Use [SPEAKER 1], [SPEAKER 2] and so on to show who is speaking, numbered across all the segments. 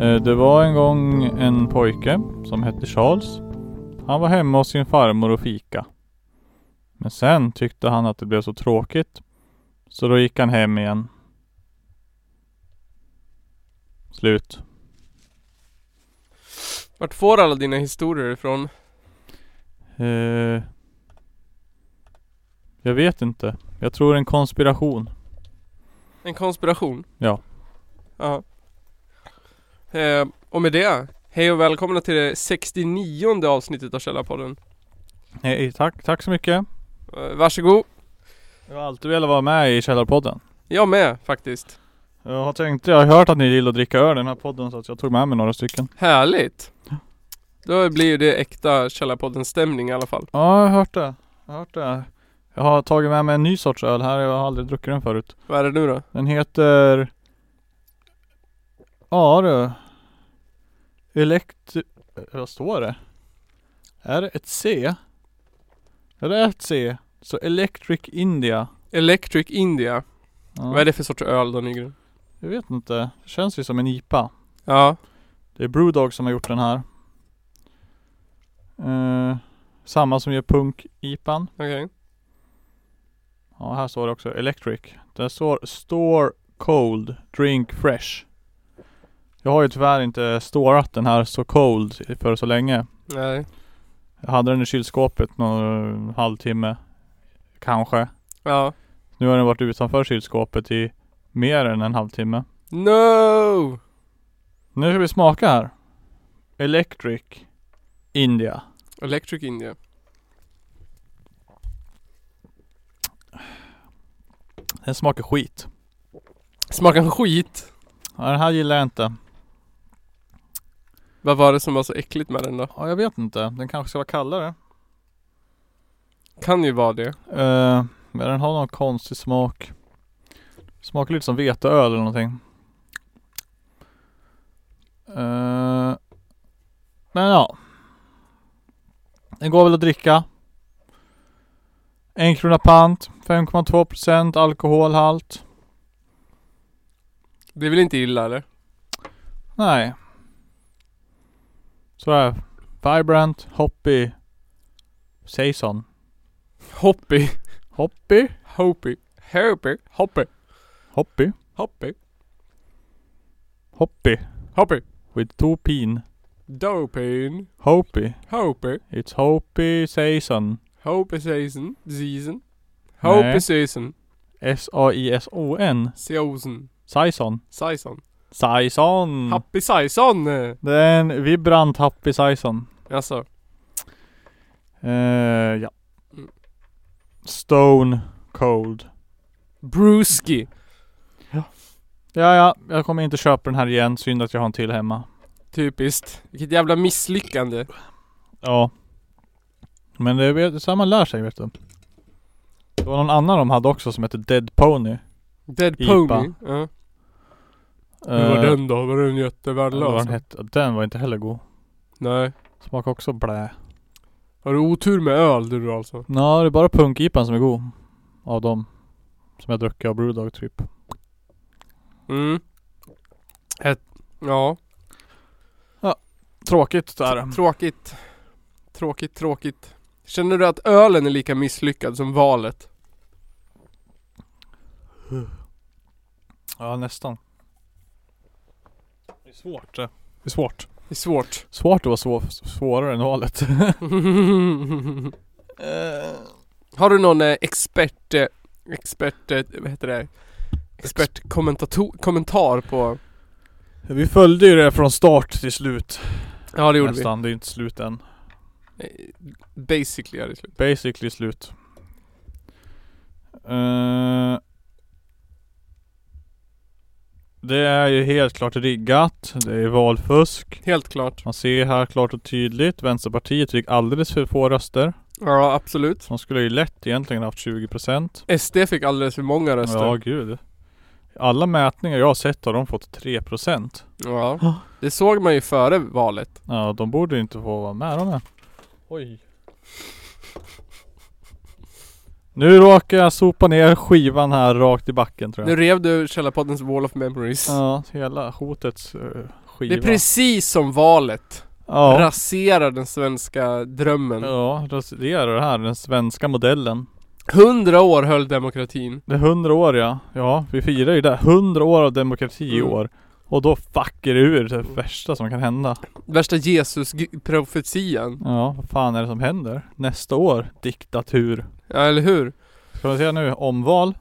[SPEAKER 1] Eh, Det var en gång en pojke som hette Charles. Han var hemma hos sin farmor och fika. Men sen tyckte han att det blev så tråkigt. Så då gick han hem igen. Slut.
[SPEAKER 2] Vart får alla dina historier ifrån?
[SPEAKER 1] Eh, jag vet inte. Jag tror en konspiration.
[SPEAKER 2] En konspiration?
[SPEAKER 1] Ja.
[SPEAKER 2] Ja. Eh, och med det, hej och välkomna till det 69 avsnittet av Källarpodden.
[SPEAKER 1] Hej, Eh, tack, tack så mycket.
[SPEAKER 2] Eh, varsågod.
[SPEAKER 1] Jag har alltid velat vara med i Källarpodden.
[SPEAKER 2] Jag med faktiskt.
[SPEAKER 1] Jag har tänkt, jag har hört att ni gillar att dricka öl i den här podden så att jag tog med mig några stycken.
[SPEAKER 2] Härligt. Då blir ju det äkta Källarpodden stämning i alla fall.
[SPEAKER 1] Ja, jag har hört det. Jag har hört det. Jag har tagit med mig en ny sorts öl här. Jag har aldrig druckit den förut.
[SPEAKER 2] Vad är det nu då?
[SPEAKER 1] Den heter... Ja du. Elekt... Vad står det? Är det ett C? Ja det är ett C. Så Electric India.
[SPEAKER 2] Electric India.
[SPEAKER 1] Ja,
[SPEAKER 2] Vad är det för sorts öl då Nygren?
[SPEAKER 1] Jag vet inte. Det känns ju som en IPA.
[SPEAKER 2] Ja.
[SPEAKER 1] Det är Brewdog som har gjort den här. Eh, samma som gör Punk-IPAn.
[SPEAKER 2] Okej.
[SPEAKER 1] Ja, här står det också Electric. Där står Store Cold Drink Fresh. Jag har ju tyvärr inte storat den här så cold för så länge.
[SPEAKER 2] Nej.
[SPEAKER 1] Jag hade den i kylskåpet någon halvtimme. Kanske.
[SPEAKER 2] Ja.
[SPEAKER 1] Nu har den varit utanför kylskåpet i mer än en halvtimme.
[SPEAKER 2] No!
[SPEAKER 1] Nu ska vi smaka här. Electric India.
[SPEAKER 2] Electric India.
[SPEAKER 1] Den smakar skit.
[SPEAKER 2] Smakar skit.
[SPEAKER 1] Ja, den här gillar jag inte.
[SPEAKER 2] Vad var det som var så äckligt med den då?
[SPEAKER 1] Ja, jag vet inte. Den kanske ska vara kallare.
[SPEAKER 2] Kan ju vara det.
[SPEAKER 1] Eh, men den har någon konstig smak. Smakar lite som veteöl eller någonting. Eh, men ja. Den går väl att dricka. En krona pant. 5,2% alkoholhalt.
[SPEAKER 2] Det är väl inte illa eller?
[SPEAKER 1] Nej. Så här. Vibrant, hoppy, saison.
[SPEAKER 2] Hoppy.
[SPEAKER 1] Hoppy?
[SPEAKER 2] Hoppy. Hoppy. Hoppy.
[SPEAKER 1] Hoppy?
[SPEAKER 2] Hoppy.
[SPEAKER 1] Hoppy.
[SPEAKER 2] Hoppy.
[SPEAKER 1] With two pin.
[SPEAKER 2] Dopin.
[SPEAKER 1] Hoppy.
[SPEAKER 2] Hoppy.
[SPEAKER 1] It's Hopi Saison.
[SPEAKER 2] Hoppy season. Season.
[SPEAKER 1] Nej.
[SPEAKER 2] Hoppy season.
[SPEAKER 1] S-A-I-S-O-N.
[SPEAKER 2] Season.
[SPEAKER 1] Saison.
[SPEAKER 2] Saison.
[SPEAKER 1] Saison.
[SPEAKER 2] Happy Saison!
[SPEAKER 1] Det är en vibrant Happy Saison.
[SPEAKER 2] Alltså.
[SPEAKER 1] Eh, ja.
[SPEAKER 2] Mm.
[SPEAKER 1] Stone Cold.
[SPEAKER 2] Brewski.
[SPEAKER 1] Ja, ja. Jag kommer inte köpa den här igen. Synd att jag har en till hemma.
[SPEAKER 2] Typiskt. Vilket jävla misslyckande.
[SPEAKER 1] Ja. Men det är så här man lär sig vet du. Det var någon annan de hade också som hette Dead Pony.
[SPEAKER 2] Dead
[SPEAKER 1] Ipa.
[SPEAKER 2] Pony. Ja. Hur var
[SPEAKER 1] Eh,
[SPEAKER 2] den då? Var den
[SPEAKER 1] vad var
[SPEAKER 2] jättevärdelös?
[SPEAKER 1] den, hette? den var inte heller god.
[SPEAKER 2] Nej.
[SPEAKER 1] Smakar också blä.
[SPEAKER 2] Har du otur med öl du alltså?
[SPEAKER 1] Ja, det är bara punkipan som är god. Av dem. Som jag druckit av Brewdog typ.
[SPEAKER 2] Mm. Ett... Ja.
[SPEAKER 1] Tråkigt är det.
[SPEAKER 2] Tråkigt. Tråkigt, tråkigt. Känner du att ölen är lika misslyckad som valet?
[SPEAKER 1] Ja, nästan. Det är svårt det. Det är svårt.
[SPEAKER 2] Det är svårt.
[SPEAKER 1] Svårt att vara svå- svårare än valet.
[SPEAKER 2] Eh. Har du någon eh, expert... eh, Expert... eh, Vad heter det? Expertkommentator... Kommentar på...
[SPEAKER 1] vi följde ju det från start till slut.
[SPEAKER 2] Ja det gjorde
[SPEAKER 1] nästan. Det är inte slut än.
[SPEAKER 2] vi. Basically är det slut.
[SPEAKER 1] Basically slut. Eh, det är ju helt klart riggat. Det är valfusk.
[SPEAKER 2] Helt klart.
[SPEAKER 1] Man ser här klart och tydligt Vänsterpartiet fick alldeles för få röster.
[SPEAKER 2] Ja absolut.
[SPEAKER 1] De skulle ju lätt egentligen haft 20%
[SPEAKER 2] SD fick alldeles för många röster.
[SPEAKER 1] Ja gud. Alla mätningar jag har sett har de fått 3%
[SPEAKER 2] Ja. Det såg man ju före valet.
[SPEAKER 1] Ja de borde ju inte få vara med de här. Oj. Nu råkar jag sopa ner skivan här rakt i backen tror
[SPEAKER 2] Nu
[SPEAKER 1] jag.
[SPEAKER 2] rev du Källarpoddens Wall of Memories.
[SPEAKER 1] Ja, hela hotets eh,
[SPEAKER 2] det
[SPEAKER 1] skiva.
[SPEAKER 2] är precis som valet.
[SPEAKER 1] ja.
[SPEAKER 2] Raserar den svenska drömmen.
[SPEAKER 1] ja, raserar det här. Den svenska modellen.
[SPEAKER 2] Hundra år höll demokratin.
[SPEAKER 1] Det är hundra år ja. Ja, vi firar ju det. Hundra år av demokrati i
[SPEAKER 2] Mm.
[SPEAKER 1] år. Och då fuckar det ur det värsta som kan hända.
[SPEAKER 2] Värsta Jesus-profetian.
[SPEAKER 1] Ja, vad fan är det som händer? Nästa år, diktatur.
[SPEAKER 2] Ja, eller hur?
[SPEAKER 1] Ska vi se nu, omval.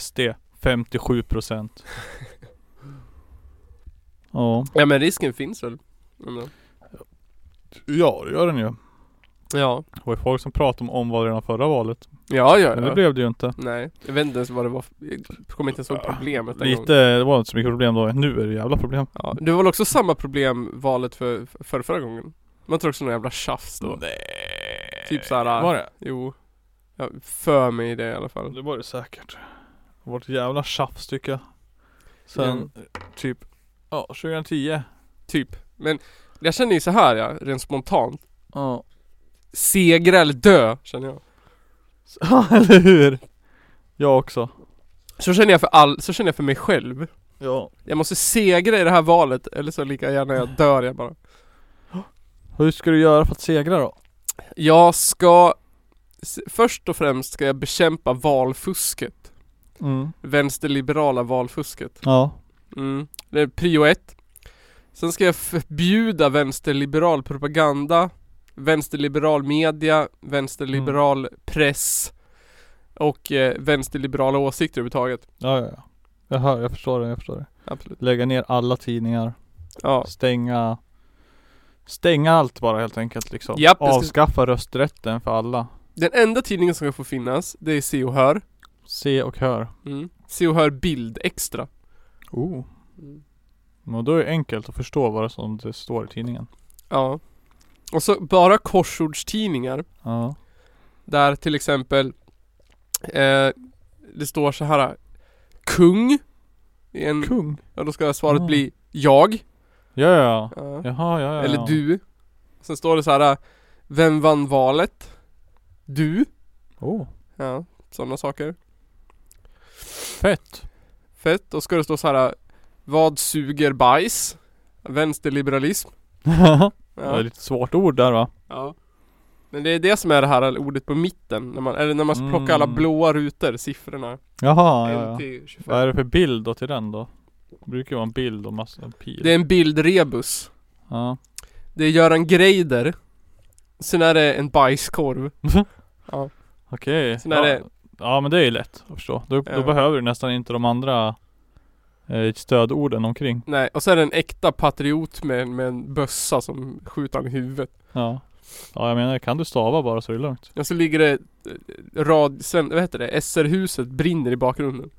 [SPEAKER 1] SD, 57%. ja.
[SPEAKER 2] Ja men risken finns väl? Ändå.
[SPEAKER 1] Ja, det gör den ju.
[SPEAKER 2] Ja.
[SPEAKER 1] Det var ju folk som pratade om omval redan förra valet.
[SPEAKER 2] Ja, ja,
[SPEAKER 1] Men det
[SPEAKER 2] ja.
[SPEAKER 1] blev det ju inte.
[SPEAKER 2] Nej, jag vet inte ens vad det var. för- Jag kommer inte ens ihåg problemet en gång.
[SPEAKER 1] Lite, det var inte så mycket problem då. Nu är det jävla problem.
[SPEAKER 2] Ja, det var väl också samma problem valet för, för förra gången? Man tror också någon jävla tjafs
[SPEAKER 1] Mm.
[SPEAKER 2] då.
[SPEAKER 1] Nej.
[SPEAKER 2] Typ så här,
[SPEAKER 1] Var det?
[SPEAKER 2] Jo. Ja, för mig det i alla fall.
[SPEAKER 1] Det var det säkert. Det var ett jävla tjafs tycker jag. Sen typ, ja 2010.
[SPEAKER 2] Typ. Men jag känner ju så här ja, rent spontant.
[SPEAKER 1] Ja.
[SPEAKER 2] Segra eller dö, känner jag.
[SPEAKER 1] Ja eller hur? Jag också.
[SPEAKER 2] Så känner jag för all, så känner jag för mig själv.
[SPEAKER 1] Ja.
[SPEAKER 2] Jag måste segra i det här valet, eller så lika gärna jag dör jag bara.
[SPEAKER 1] Hur ska du göra för att segra då?
[SPEAKER 2] Jag ska s- Först och främst ska jag bekämpa valfusket
[SPEAKER 1] Mm.
[SPEAKER 2] Vänsterliberala valfusket
[SPEAKER 1] Ja.
[SPEAKER 2] mm. Det är prio ett Sen ska jag förbjuda vänsterliberal propaganda Vänsterliberal media Vänsterliberal press Och eh, vänsterliberala åsikter överhuvudtaget
[SPEAKER 1] Ja ja ja. Jag hör, jag förstår det, jag förstår det.
[SPEAKER 2] Absolut
[SPEAKER 1] Lägga ner alla tidningar.
[SPEAKER 2] Ja
[SPEAKER 1] Stänga Stänga allt bara helt enkelt liksom.
[SPEAKER 2] Japp, det ska-
[SPEAKER 1] Avskaffa rösträtten för alla.
[SPEAKER 2] Den enda tidningen som ska få finnas Det är Se och Hör
[SPEAKER 1] Se och hör.
[SPEAKER 2] mm. Se och Hör Bild Extra
[SPEAKER 1] Oh.
[SPEAKER 2] Mm.
[SPEAKER 1] Men då är det enkelt att förstå vad det som det står i tidningen.
[SPEAKER 2] Ja Och så bara korsordstidningar
[SPEAKER 1] Ja.
[SPEAKER 2] Där till exempel eh, Det står så här Kung i en,
[SPEAKER 1] Kung.
[SPEAKER 2] ja, Då ska svaret
[SPEAKER 1] Ah.
[SPEAKER 2] bli Jag
[SPEAKER 1] Ja ja ja.
[SPEAKER 2] ja.
[SPEAKER 1] Jaha, ja, ja, ja.
[SPEAKER 2] Eller du Sen står det så här Vem vann valet? Du
[SPEAKER 1] Oh,
[SPEAKER 2] Ja, sådana saker
[SPEAKER 1] fett.
[SPEAKER 2] Fett, då ska det stå så här Vad suger bajs? Vänsterliberalism
[SPEAKER 1] Det var
[SPEAKER 2] ja.
[SPEAKER 1] lite svårt ord där va?
[SPEAKER 2] ja Men det är det som är det här ordet på mitten när man, Eller när man plockar alla
[SPEAKER 1] Mm.
[SPEAKER 2] blåa rutor, siffrorna
[SPEAKER 1] Jaha, ja,
[SPEAKER 2] 1
[SPEAKER 1] ja.
[SPEAKER 2] till 25
[SPEAKER 1] Vad är det för bild då till den då? Det brukar ju vara en bild och massa en pil.
[SPEAKER 2] Det är en bildrebus
[SPEAKER 1] Ja.
[SPEAKER 2] Det är Göran Greider Sen är det en bajskorv
[SPEAKER 1] Okej.
[SPEAKER 2] Sen är
[SPEAKER 1] Ja.
[SPEAKER 2] det-
[SPEAKER 1] ja men det är ju lätt att förstå. Då,
[SPEAKER 2] eh, Ja.
[SPEAKER 1] då behöver du nästan inte de andra eh, stödorden omkring.
[SPEAKER 2] Nej, och så är det en äkta patriot med, med en bössa som skjuter han i huvudet
[SPEAKER 1] Ja. Ja jag menar, kan du stava bara så är det lugnt.
[SPEAKER 2] Och så ligger det eh, rad, sen, vad heter det? SR-huset brinner i bakgrunden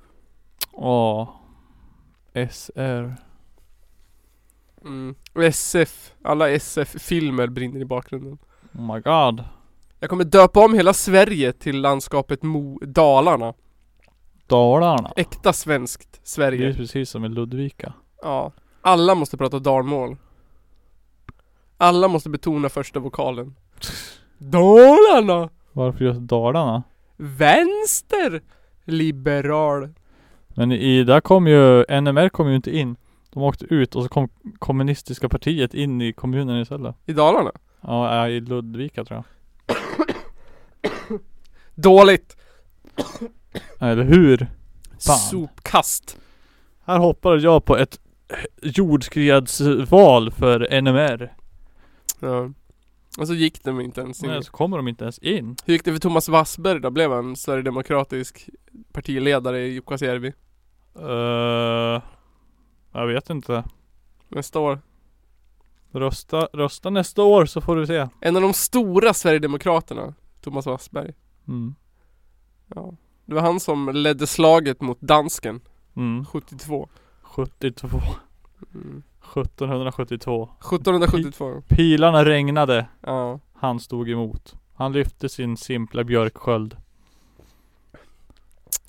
[SPEAKER 1] Åh. SR.
[SPEAKER 2] mm. Och SF, alla SF-filmer brinner i bakgrunden
[SPEAKER 1] Oh my god.
[SPEAKER 2] Jag kommer döpa om hela Sverige till landskapet Mo- Dalarna
[SPEAKER 1] Dalarna.
[SPEAKER 2] Äkta svenskt
[SPEAKER 1] Det är ju
[SPEAKER 2] Sverige
[SPEAKER 1] precis som i Ludvika.
[SPEAKER 2] Ja Alla måste prata dalmål Alla måste betona första vokalen Dalarna!
[SPEAKER 1] Varför just Dalarna?
[SPEAKER 2] Vänster liberal.
[SPEAKER 1] Men i, där kom ju, NMR kom ju inte in. De åkte ut och så kom kommunistiska partiet in i kommunen istället.
[SPEAKER 2] I Dalarna.
[SPEAKER 1] Ja, äh, i Ludvika tror jag.
[SPEAKER 2] Dåligt.
[SPEAKER 1] Eller hur? Fan.
[SPEAKER 2] Sopkast.
[SPEAKER 1] Här hoppade jag på ett jordskredsval för NMR.
[SPEAKER 2] Ja. Och så gick de inte ens in.
[SPEAKER 1] Nej, så kommer de inte ens in.
[SPEAKER 2] Hur gick det för Thomas Wassberg då? Blev han sverigedemokratisk partiledare i Jukkasjärvi?
[SPEAKER 1] Eh, jag vet inte.
[SPEAKER 2] Nästa år.
[SPEAKER 1] Rösta, rösta nästa år så får du se.
[SPEAKER 2] En av de stora sverigedemokraterna. Thomas Wassberg.
[SPEAKER 1] Mm.
[SPEAKER 2] Ja. Det var han som ledde slaget mot dansken.
[SPEAKER 1] Mm.
[SPEAKER 2] 72.
[SPEAKER 1] 72.
[SPEAKER 2] Mm.
[SPEAKER 1] 1772.
[SPEAKER 2] 1772.
[SPEAKER 1] Pilarna regnade.
[SPEAKER 2] Ja.
[SPEAKER 1] Han stod emot. Han lyfte sin simpla björksköld.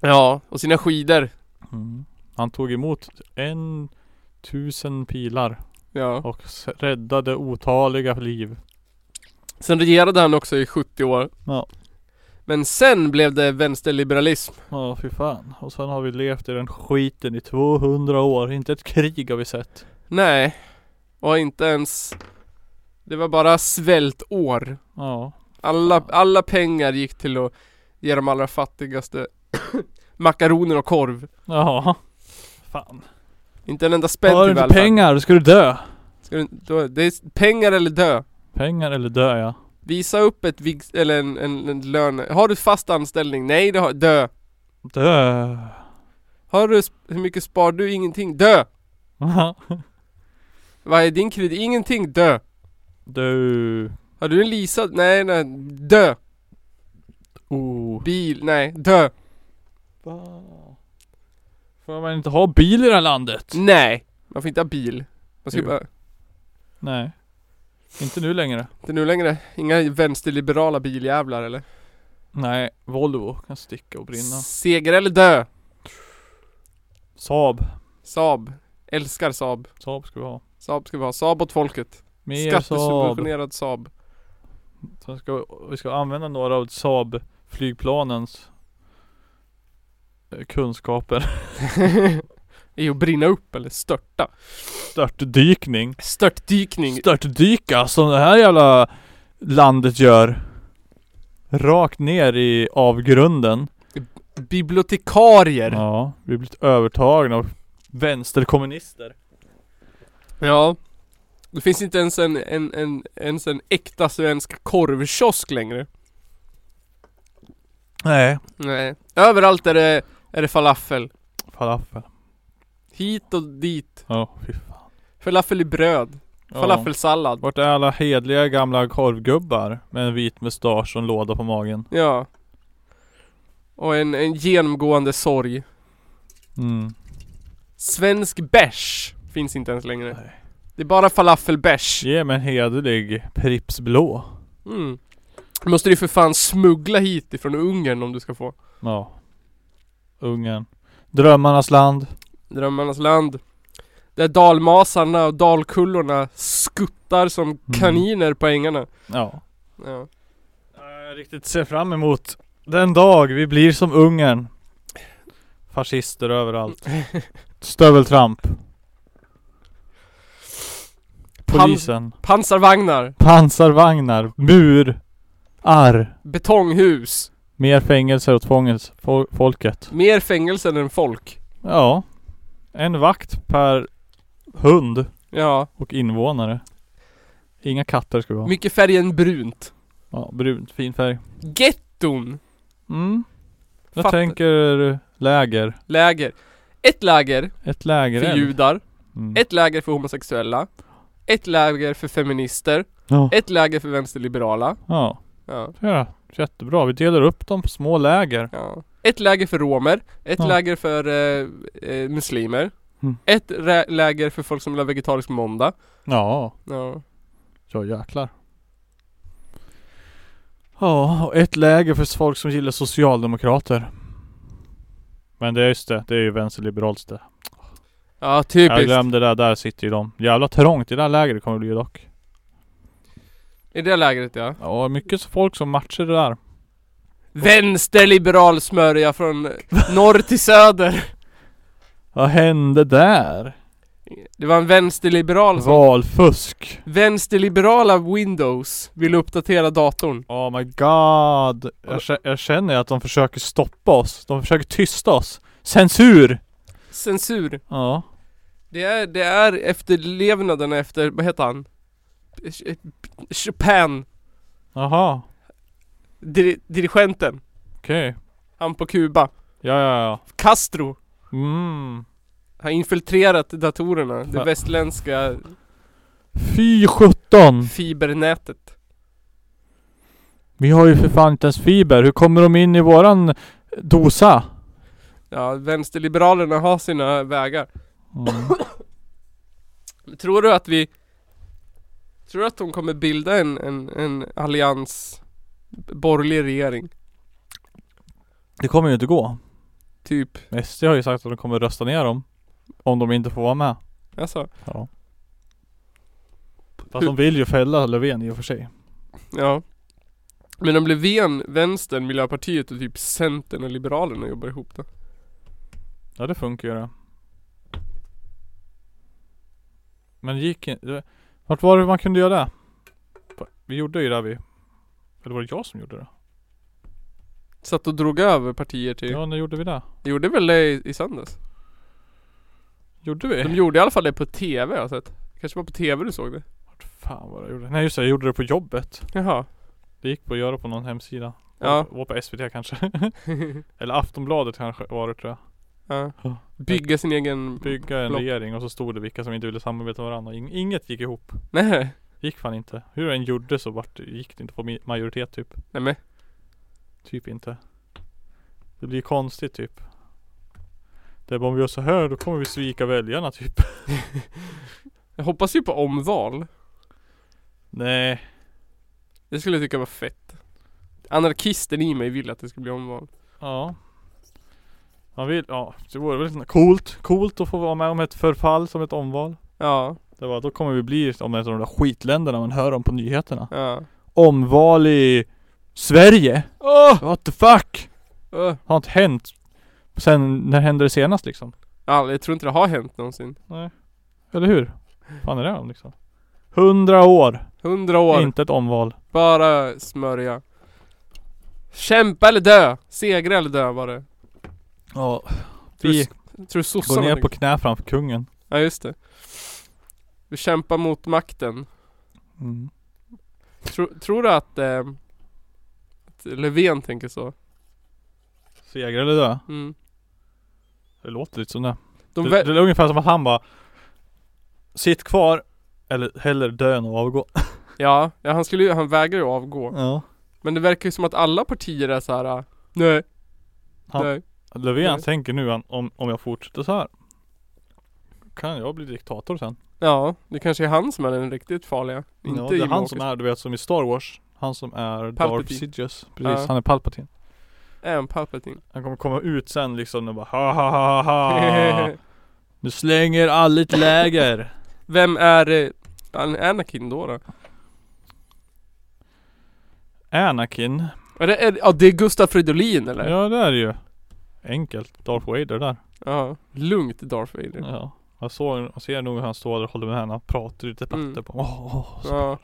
[SPEAKER 2] Ja. Och sina skidor.
[SPEAKER 1] Mm. Han tog emot en tusen pilar
[SPEAKER 2] Ja.
[SPEAKER 1] och s- räddade otaliga liv.
[SPEAKER 2] Sen regerade han också i 70 år.
[SPEAKER 1] Ja.
[SPEAKER 2] Men sen blev det vänsterliberalism.
[SPEAKER 1] Ja fy fan. Och sen har vi levt i den skiten i 200 år. Inte ett krig har vi sett.
[SPEAKER 2] Nej. Och inte ens... Det var bara svältår.
[SPEAKER 1] Ja.
[SPEAKER 2] Alla,
[SPEAKER 1] Fan.
[SPEAKER 2] alla pengar gick till att ge de allra fattigaste makaroner och korv.
[SPEAKER 1] Ja. Fan.
[SPEAKER 2] Inte en enda spänn
[SPEAKER 1] Har du
[SPEAKER 2] till
[SPEAKER 1] inte
[SPEAKER 2] välfärd.
[SPEAKER 1] pengar ska du dö.
[SPEAKER 2] Ska du, då, det är pengar eller dö.
[SPEAKER 1] Pengar eller dö ja.
[SPEAKER 2] Visa upp ett vig, eller en, en, en lön. Har du fast anställning? Nej, det har, dö.
[SPEAKER 1] Dö.
[SPEAKER 2] Har du, sp- hur mycket spar du? Ingenting. Dö. Vad är din kredit? Ingenting. Dö.
[SPEAKER 1] du.
[SPEAKER 2] Har du en leasad? Nej, nej. Dö.
[SPEAKER 1] Oh.
[SPEAKER 2] Bil? Nej. Dö.
[SPEAKER 1] Får man inte ha bil i det här landet?
[SPEAKER 2] Nej. Man får inte ha bil. Man ska
[SPEAKER 1] Jo.
[SPEAKER 2] bara,
[SPEAKER 1] Nej. Inte nu längre.
[SPEAKER 2] inte nu längre. Inga vänsterliberala biljävlar eller?
[SPEAKER 1] Nej. Volvo kan sticka och brinna.
[SPEAKER 2] Seger eller dö.
[SPEAKER 1] Saab.
[SPEAKER 2] Saab. Älskar Saab.
[SPEAKER 1] Saab ska vi ha.
[SPEAKER 2] Saab ska vi ha. Saab åt folket.
[SPEAKER 1] Mer Saab.
[SPEAKER 2] Skattesubventionerad Saab.
[SPEAKER 1] Sen ska, vi ska använda några av Saab flygplanens eh, kunskaper.
[SPEAKER 2] är att brinna upp eller störta.
[SPEAKER 1] Störtdykning.
[SPEAKER 2] Störtdykning.
[SPEAKER 1] Störtdyka som det här jävla landet gör. Rakt ner i avgrunden.
[SPEAKER 2] Bibliotekarier. Ja.
[SPEAKER 1] Ja, vi blivit övertagna av vänsterkommunister.
[SPEAKER 2] Det finns inte ens en, en, en, ens en äkta svensk korvkiosk längre.
[SPEAKER 1] Nej.
[SPEAKER 2] Nej. Överallt är det, är det falafel.
[SPEAKER 1] Falafel.
[SPEAKER 2] Hit och dit.
[SPEAKER 1] Ja, fy fan.
[SPEAKER 2] Falafel i bröd.
[SPEAKER 1] Ja.
[SPEAKER 2] Falafelsallad.
[SPEAKER 1] Vart är alla hedliga gamla korvgubbar med en vit mustasch och en låda på magen?
[SPEAKER 2] Ja. Och en, en genomgående sorg.
[SPEAKER 1] Mm.
[SPEAKER 2] Svensk bärs finns inte ens längre.
[SPEAKER 1] Nej.
[SPEAKER 2] Det är bara falafelbärs.
[SPEAKER 1] Ge mig en hederlig Pripps blå.
[SPEAKER 2] Mm. Då måste du ju för fan smuggla hit ifrån Ungern om du ska få.
[SPEAKER 1] Ja. Ungern. Drömmarnas land.
[SPEAKER 2] Drömmarnas land. Där dalmasarna och dalkullorna skuttar
[SPEAKER 1] Mm.
[SPEAKER 2] som kaniner på ängarna.
[SPEAKER 1] Ja.
[SPEAKER 2] Ja.
[SPEAKER 1] Jag riktigt ser fram emot den dag vi blir som Ungern. Fascister överallt. Stöveltramp. Polisen.
[SPEAKER 2] Pansarvagnar.
[SPEAKER 1] Pansarvagnar. Mur. Arr.
[SPEAKER 2] Betonghus.
[SPEAKER 1] Mer fängelser åt fångels, fo- folket.
[SPEAKER 2] Mer fängelser än folk.
[SPEAKER 1] Ja. En vakt per hund
[SPEAKER 2] Ja.
[SPEAKER 1] och invånare. Inga katter ska vi ha.
[SPEAKER 2] Mycket färgen brunt.
[SPEAKER 1] Ja, brunt. Fin färg.
[SPEAKER 2] Getton.
[SPEAKER 1] Mm. Jag
[SPEAKER 2] Fattar.
[SPEAKER 1] tänker läger.
[SPEAKER 2] Läger. Ett läger
[SPEAKER 1] Ett läger.
[SPEAKER 2] för judar.
[SPEAKER 1] Mm.
[SPEAKER 2] Ett läger för homosexuella. Ett läger för feminister.
[SPEAKER 1] Ja.
[SPEAKER 2] Ett läger för vänsterliberala.
[SPEAKER 1] ja.
[SPEAKER 2] Ja.
[SPEAKER 1] Ja, jättebra. Vi delar upp dem på små läger.
[SPEAKER 2] Ja. Ett läger för romer, ett
[SPEAKER 1] Ja.
[SPEAKER 2] läger för eh, eh, muslimer,
[SPEAKER 1] Mm.
[SPEAKER 2] ett rä- läger för folk som vill ha vegetarisk måndag.
[SPEAKER 1] Ja.
[SPEAKER 2] Ja.
[SPEAKER 1] Ja jäklar. Ja, och ett läger för folk som gillar socialdemokrater. Men det är just det, det är ju vänsterliberalt det.
[SPEAKER 2] Ja,
[SPEAKER 1] Jag
[SPEAKER 2] typiskt.
[SPEAKER 1] glömde det, där sitter ju de. Jävla trångt i det här lägret kommer det bli dock.
[SPEAKER 2] I det lägret ja.
[SPEAKER 1] Ja, mycket så folk som matchar det där.
[SPEAKER 2] Vänsterliberal smörja från norr till söder.
[SPEAKER 1] Vad hände där?
[SPEAKER 2] Det var en vänsterliberal
[SPEAKER 1] Alltså.
[SPEAKER 2] som...
[SPEAKER 1] Valfusk.
[SPEAKER 2] Vänsterliberala Windows vill uppdatera datorn.
[SPEAKER 1] Oh my god. Jag, kä- jag känner ju att de försöker stoppa oss. De försöker tysta oss. Censur!
[SPEAKER 2] Censur.
[SPEAKER 1] Ja.
[SPEAKER 2] Det är, det är efterlevnaden efter, vad heter han? Ch- Chopin.
[SPEAKER 1] Jaha.
[SPEAKER 2] Dir- dirigenten.
[SPEAKER 1] Okej.
[SPEAKER 2] Han på Kuba.
[SPEAKER 1] Ja, ja, ja.
[SPEAKER 2] Castro.
[SPEAKER 1] Mm.
[SPEAKER 2] har infiltrerat datorerna, det
[SPEAKER 1] Ja.
[SPEAKER 2] västländska
[SPEAKER 1] Fy sjutton!
[SPEAKER 2] fibernätet.
[SPEAKER 1] Vi har ju för fan inte ens fiber. Hur kommer de in i våran dosa?
[SPEAKER 2] Ja, vänsterliberalerna har sina vägar.
[SPEAKER 1] Mm.
[SPEAKER 2] Tror du att vi... Tror du att de kommer bilda en, en, en allians, borgerlig regering?
[SPEAKER 1] Det kommer ju inte gå.
[SPEAKER 2] Typ,
[SPEAKER 1] SD har ju sagt att de kommer rösta ner dem. Om de inte får vara med.
[SPEAKER 2] alltså.
[SPEAKER 1] Ja. Fast de vill ju fälla Löfven i och för sig.
[SPEAKER 2] Ja. Men om Löfven, Vänstern, Miljöpartiet och typ Centern och Liberalerna jobbar ihop då?
[SPEAKER 1] Ja det funkar ju det. Men gick inte... Vart var det man kunde göra det? På- Vi gjorde ju det vi... Eller var det jag som gjorde det?
[SPEAKER 2] Satt och drog över partier till...
[SPEAKER 1] Ja när gjorde vi det?
[SPEAKER 2] Gjorde väl det i, i söndags?
[SPEAKER 1] Gjorde vi?
[SPEAKER 2] De gjorde i alla fall det på TV har jag sett. Kanske var på TV du såg det?
[SPEAKER 1] Vart fan var det jag gjorde? Nej just det, jag gjorde det på jobbet.
[SPEAKER 2] Jaha.
[SPEAKER 1] Det gick på att göra på någon hemsida.
[SPEAKER 2] Ja.
[SPEAKER 1] Var på SVT kanske. Eller Aftonbladet kanske var det tror jag.
[SPEAKER 2] ja.
[SPEAKER 1] Ja.
[SPEAKER 2] Bygga sin egen...
[SPEAKER 1] Bygga en
[SPEAKER 2] Block.
[SPEAKER 1] regering och så stod det vilka som inte ville samarbeta med varandra. Ing- Inget gick ihop.
[SPEAKER 2] Nej.
[SPEAKER 1] Gick fan inte. Hur den gjorde så vart, gick det inte på mi- majoritet typ.
[SPEAKER 2] Nej men.
[SPEAKER 1] Typ inte. Det blir konstigt typ. Det är bara om vi gör så här då kommer vi svika väljarna typ.
[SPEAKER 2] Jag hoppas ju på omval.
[SPEAKER 1] Nej.
[SPEAKER 2] Det skulle jag tycka var fett. Anarkisten i mig vill att det ska bli omval.
[SPEAKER 1] Ja. Man vill, ja det vore väl coolt. Coolt att få vara med om ett förfall som ett omval.
[SPEAKER 2] Ja.
[SPEAKER 1] Det var, då kommer vi bli som ett av de där skitländerna man hör om på nyheterna.
[SPEAKER 2] Ja.
[SPEAKER 1] Omval i Sverige?
[SPEAKER 2] Åh!
[SPEAKER 1] What the fuck?
[SPEAKER 2] Åh!
[SPEAKER 1] Har inte hänt. Sen, när hände det senast liksom?
[SPEAKER 2] Ja, jag tror inte det har hänt någonsin.
[SPEAKER 1] Nej. Eller hur? fan är det om liksom? Hundra år.
[SPEAKER 2] Hundra år.
[SPEAKER 1] Inte ett omval.
[SPEAKER 2] Bara smörja. Kämpa eller dö! Segra eller dö var det.
[SPEAKER 1] Ja.
[SPEAKER 2] Tror
[SPEAKER 1] Vi
[SPEAKER 2] s- Tror du
[SPEAKER 1] går
[SPEAKER 2] sossarna
[SPEAKER 1] ner
[SPEAKER 2] tänker-
[SPEAKER 1] på knä framför kungen.
[SPEAKER 2] Ja just det. Du kämpar mot makten.
[SPEAKER 1] Mm.
[SPEAKER 2] Tro, tror du att, eh, att Löfven tänker så?
[SPEAKER 1] Segra eller dö?
[SPEAKER 2] Mm.
[SPEAKER 1] Det låter lite som det.
[SPEAKER 2] De
[SPEAKER 1] det,
[SPEAKER 2] väl-
[SPEAKER 1] det är ungefär som att han bara Sitt kvar. Eller hellre dö än att avgå.
[SPEAKER 2] ja, ja, han skulle ju, han vägrar ju avgå.
[SPEAKER 1] Ja.
[SPEAKER 2] Men det verkar ju som att alla partier är så här. eh, Nej.
[SPEAKER 1] Han-
[SPEAKER 2] Nej.
[SPEAKER 1] Löfven
[SPEAKER 2] Nej.
[SPEAKER 1] tänker nu han, om, om jag fortsätter så här. Kan jag bli diktator sen?
[SPEAKER 2] Ja, det kanske är han som är den riktigt farliga. Inte
[SPEAKER 1] ja, det är
[SPEAKER 2] Jimmie
[SPEAKER 1] han som
[SPEAKER 2] Åkesson.
[SPEAKER 1] är, du vet som i Star Wars. Han som är Darth
[SPEAKER 2] Palpatine.
[SPEAKER 1] Sidious. Precis,
[SPEAKER 2] Ja.
[SPEAKER 1] han är Palpatine.
[SPEAKER 2] Är en Palpatine.
[SPEAKER 1] Han kommer komma ut sen liksom och bara ha ha ha ha. Nu slänger alla ett läger.
[SPEAKER 2] Vem är eh, An- Anakin då? då?
[SPEAKER 1] Anakin.
[SPEAKER 2] Är det, är, ja, det är Gustaf Fridolin eller?
[SPEAKER 1] Ja det är det ju. Enkelt. Darth Vader där.
[SPEAKER 2] Ja, lugnt Darth Vader. Ja.
[SPEAKER 1] Ja. Jag, såg, jag ser nog hur han står där och håller med henne. Han pratar ute i debatter
[SPEAKER 2] Mm.
[SPEAKER 1] på Åh, åh, så-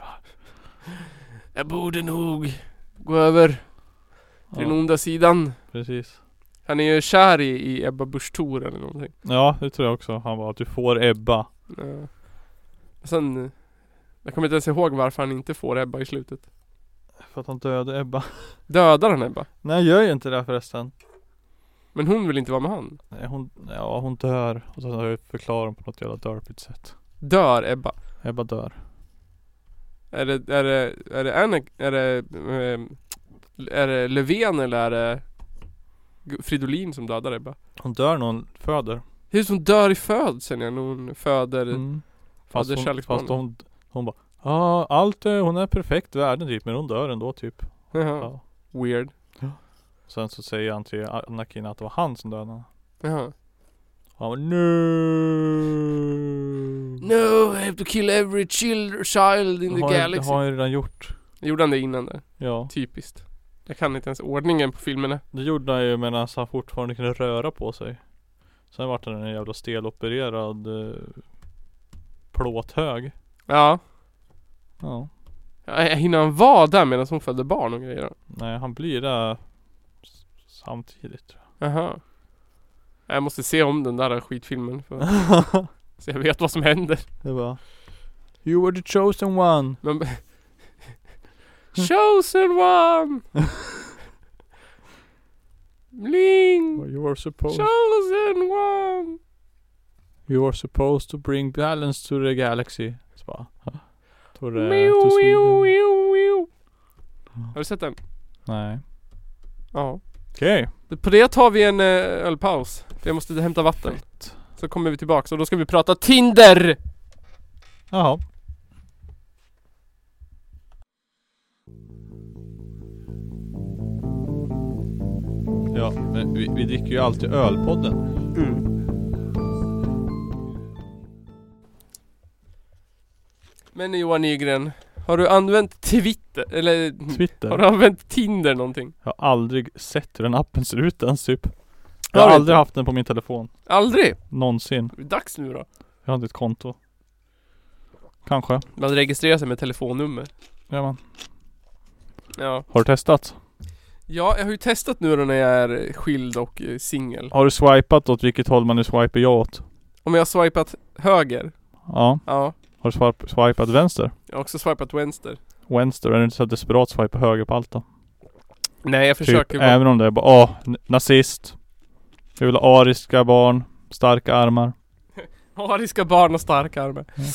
[SPEAKER 2] Jag borde nog gå över till den
[SPEAKER 1] ja,
[SPEAKER 2] onda sidan.
[SPEAKER 1] Precis.
[SPEAKER 2] Han är ju kär i, i Ebba Busch Thor eller någonting.
[SPEAKER 1] Ja det tror jag också. Han bara, du får Ebba.
[SPEAKER 2] Ja. Sen, eh, jag kommer inte ens ihåg varför han inte får Ebba i slutet.
[SPEAKER 1] För att han dödade Ebba.
[SPEAKER 2] Dödar han Ebba?
[SPEAKER 1] Nej gör ju inte det förresten.
[SPEAKER 2] Men hon vill inte vara med han.
[SPEAKER 1] Nej, hon, ja hon dör. Och sen förklarar hon på något jävla dörpigt sätt.
[SPEAKER 2] Dör Ebba?
[SPEAKER 1] Ebba dör.
[SPEAKER 2] Är det, är det, är det Anna, är det, ehm, är det Löfven eller är det Gu- Fridolin som dödar Ebba?
[SPEAKER 1] Hon dör när hon föder.
[SPEAKER 2] Det är som hon dör i födseln ja, när hon föder
[SPEAKER 1] Mm. Fast,
[SPEAKER 2] Fader
[SPEAKER 1] hon,
[SPEAKER 2] kärleksbarn.
[SPEAKER 1] fast hon, hon bara Ja allt, eh, hon är perfekt världen typ men hon dör ändå typ.
[SPEAKER 2] Jaha.
[SPEAKER 1] Ja.
[SPEAKER 2] Weird.
[SPEAKER 1] Sen så säger han till Anakin att det var han som dödade henne.
[SPEAKER 2] Jaha.
[SPEAKER 1] Mm. Han bara nu.
[SPEAKER 2] No, I have to kill every child, child in the
[SPEAKER 1] har,
[SPEAKER 2] galaxy.
[SPEAKER 1] har han ju redan gjort.
[SPEAKER 2] Gjorde han det innan där?
[SPEAKER 1] Ja.
[SPEAKER 2] Typiskt. Jag kan inte ens ordningen på filmerna.
[SPEAKER 1] Det gjorde han ju medan han fortfarande kunde röra på sig. Sen vart han en jävla stelopererad eh, plåthög.
[SPEAKER 2] Ja.
[SPEAKER 1] Ja.
[SPEAKER 2] Ja, Hinner han vara där medan hon födde barn och grejer? då?
[SPEAKER 1] Nej han blir det s- samtidigt tror jag.
[SPEAKER 2] Jaha. Jag måste se om den där skitfilmen för så jag vet vad som händer.
[SPEAKER 1] Det var You were the chosen one.
[SPEAKER 2] Men... Chosen one! Bling!
[SPEAKER 1] You were supposed
[SPEAKER 2] Chosen one!
[SPEAKER 1] You are supposed to bring balance to the galaxy. Så bara, to the,
[SPEAKER 2] Mew,
[SPEAKER 1] to
[SPEAKER 2] mew,
[SPEAKER 1] Sweden.
[SPEAKER 2] mew, mew. Har du sett den?
[SPEAKER 1] Nej.
[SPEAKER 2] Ja.
[SPEAKER 1] Okej.
[SPEAKER 2] På det tar vi en eh, ölpaus. För jag måste hämta vatten. Så kommer vi tillbaks och då ska vi prata Tinder!
[SPEAKER 1] Jaha. Ja, men vi, vi dricker ju alltid ölpodden.
[SPEAKER 2] Men Johan Nygren, Har du använt Twitter? Eller
[SPEAKER 1] Twitter.
[SPEAKER 2] har du använt Tinder någonting?
[SPEAKER 1] Jag har aldrig sett hur den appen ser ut ens typ. Jag
[SPEAKER 2] Har
[SPEAKER 1] har
[SPEAKER 2] du
[SPEAKER 1] aldrig haft den på min telefon.
[SPEAKER 2] Aldrig?
[SPEAKER 1] Någonsin.
[SPEAKER 2] Det är dags nu då.
[SPEAKER 1] Jag har inte ett konto. Kanske.
[SPEAKER 2] Man registrerar sig med telefonnummer.
[SPEAKER 1] Ja, man.
[SPEAKER 2] Ja.
[SPEAKER 1] Har du testat?
[SPEAKER 2] Ja, jag har ju testat nu då när jag är skild och eh, singel.
[SPEAKER 1] Har du swipat åt vilket håll man nu swipar ja åt?
[SPEAKER 2] Om jag har swipat höger?
[SPEAKER 1] Ja.
[SPEAKER 2] Ja.
[SPEAKER 1] Har du swip- swipat vänster?
[SPEAKER 2] Jag har också swipat vänster.
[SPEAKER 1] Vänster? Är du inte så desperat swipa höger på allt då?
[SPEAKER 2] Nej, jag
[SPEAKER 1] Typ,
[SPEAKER 2] försöker vara...
[SPEAKER 1] även om det är bara åh, n- nazist. Jag vill ha ariska barn. Starka armar.
[SPEAKER 2] Ariska barn och starka armar.
[SPEAKER 1] Mm.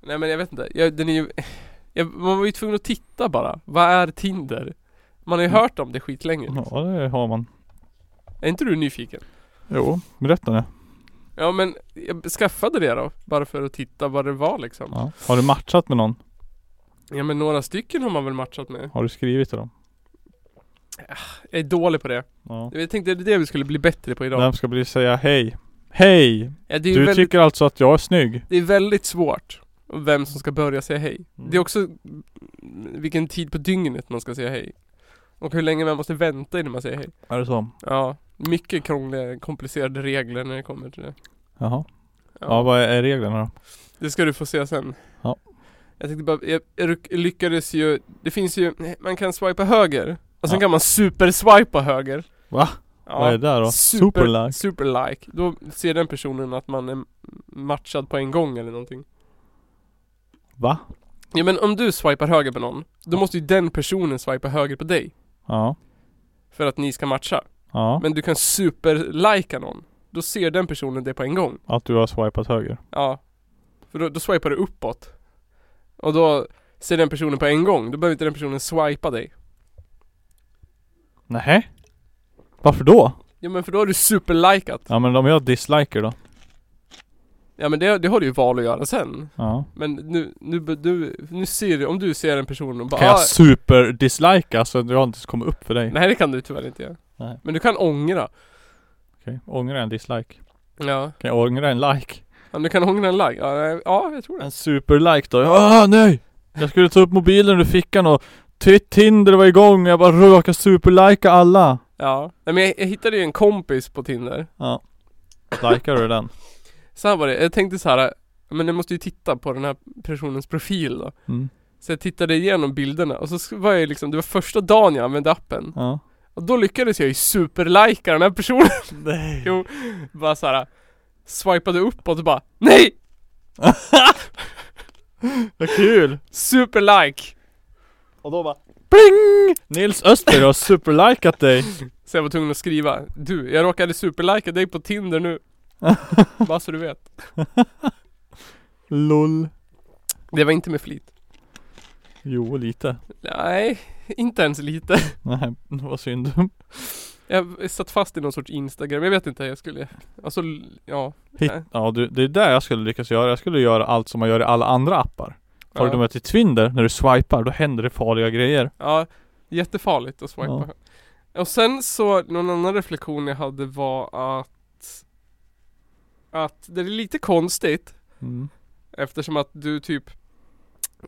[SPEAKER 2] Nej men jag vet inte. Jag, den är ju... Jag, man var ju tvungen att titta bara. Vad är Tinder? Man har ju
[SPEAKER 1] Mm.
[SPEAKER 2] hört om det skitlänge.
[SPEAKER 1] Ja, det har man.
[SPEAKER 2] Är inte du nyfiken?
[SPEAKER 1] Jo, berätta nu.
[SPEAKER 2] Ja men jag skaffade det då. Bara för att titta vad det var liksom.
[SPEAKER 1] Ja. Har du matchat med någon?
[SPEAKER 2] Ja men några stycken har man väl matchat med.
[SPEAKER 1] Har du skrivit till dem?
[SPEAKER 2] Jag är dålig på det.
[SPEAKER 1] Ja.
[SPEAKER 2] Jag tänkte det är det vi skulle bli bättre på idag.
[SPEAKER 1] Vem ska bli säga hej? Hej!
[SPEAKER 2] Ja, det är ju
[SPEAKER 1] Du
[SPEAKER 2] väldigt,
[SPEAKER 1] tycker alltså att jag är snygg?
[SPEAKER 2] det är väldigt svårt. Vem som ska börja säga hej.
[SPEAKER 1] Mm.
[SPEAKER 2] Det är också mm, vilken tid på dygnet man ska säga hej. Och hur länge man måste vänta innan man säger hej.
[SPEAKER 1] Är det så?
[SPEAKER 2] Ja, mycket krångliga, komplicerade regler när det kommer till det.
[SPEAKER 1] Jaha.
[SPEAKER 2] Ja.
[SPEAKER 1] Ja, vad är, är reglerna då?
[SPEAKER 2] Det ska du få se sen.
[SPEAKER 1] Ja.
[SPEAKER 2] Jag tänkte bara, jag, jag ryck- lyckades ju, det finns ju, man kan swipa höger. Och sen
[SPEAKER 1] Ja.
[SPEAKER 2] kan man superswipa höger.
[SPEAKER 1] Va?
[SPEAKER 2] Ja.
[SPEAKER 1] Vad är det där då?
[SPEAKER 2] Super,
[SPEAKER 1] Superlike?
[SPEAKER 2] superlike. Då ser den personen att man är matchad på en gång eller någonting.
[SPEAKER 1] Va?
[SPEAKER 2] Ja men om du swipar höger på någon, då måste ju den personen swipa höger på dig.
[SPEAKER 1] Ja.
[SPEAKER 2] För att ni ska matcha.
[SPEAKER 1] Ja.
[SPEAKER 2] Men du kan superlika någon. Då ser den personen det på en gång.
[SPEAKER 1] Att du har swipat höger?
[SPEAKER 2] Ja. För då, då swipar du uppåt. Och då ser den personen på en gång. Då behöver inte den personen swipa dig.
[SPEAKER 1] Nej. Varför då?
[SPEAKER 2] Ja men för då har du superlikat.
[SPEAKER 1] Ja men om jag disliker då?
[SPEAKER 2] Ja men det, det har du ju val att göra sen.
[SPEAKER 1] Ja.
[SPEAKER 2] Men nu, nu, be- du, nu ser du, om du ser en person och bara
[SPEAKER 1] Kan
[SPEAKER 2] "Ah,
[SPEAKER 1] jag superdislika så att jag inte ens kommer upp för dig?
[SPEAKER 2] Nej det kan du tyvärr inte göra.
[SPEAKER 1] Nej.
[SPEAKER 2] Men du kan ångra.
[SPEAKER 1] Okej. Ångra en dislike?
[SPEAKER 2] Ja.
[SPEAKER 1] Kan jag ångra en like?
[SPEAKER 2] ja du kan ångra en like. Ja, nej, ja jag tror det.
[SPEAKER 1] En superlike då? Ah nej! Jag skulle ta upp mobilen ur fickan och T- Tinder var igång och jag bara råkade superlika alla.
[SPEAKER 2] Ja. Nej men jag, jag hittade ju en kompis på Tinder.
[SPEAKER 1] Ja. Likar du den? så
[SPEAKER 2] Så här var det, jag tänkte så här. Men jag måste ju titta på den här personens profil då.
[SPEAKER 1] Mm.
[SPEAKER 2] Så jag tittade igenom bilderna och så sk- var jag liksom, det var första dagen jag använde appen.
[SPEAKER 1] Ja.
[SPEAKER 2] Och då lyckades jag ju superlika den här personen.
[SPEAKER 1] Nej.
[SPEAKER 2] Jo. bara så här. Swipade uppåt och bara NEJ!
[SPEAKER 1] Vad kul!
[SPEAKER 2] Superlike!
[SPEAKER 1] Och då bara Pling! Nils Öster har superlikat dig.
[SPEAKER 2] Så jag var tvungen att skriva Du, jag råkade superlika dig på Tinder nu. bara så du vet.
[SPEAKER 1] LOL.
[SPEAKER 2] Det var inte med flit.
[SPEAKER 1] Jo, lite.
[SPEAKER 2] Nej, inte ens lite.
[SPEAKER 1] Nej, vad synd.
[SPEAKER 2] Jag satt fast i någon sorts Instagram, jag vet inte, jag skulle Alltså, ja
[SPEAKER 1] Hit,
[SPEAKER 2] Nej.
[SPEAKER 1] ja, du, det är där jag skulle lyckas göra. Jag skulle göra allt som man gör i alla andra appar. Förutom att i Twinder, när du swipar, då händer det farliga grejer.
[SPEAKER 2] Ja, jättefarligt att swipa. Och sen så, någon annan reflektion jag hade var att Att det är lite konstigt
[SPEAKER 1] Mm.
[SPEAKER 2] Eftersom att du typ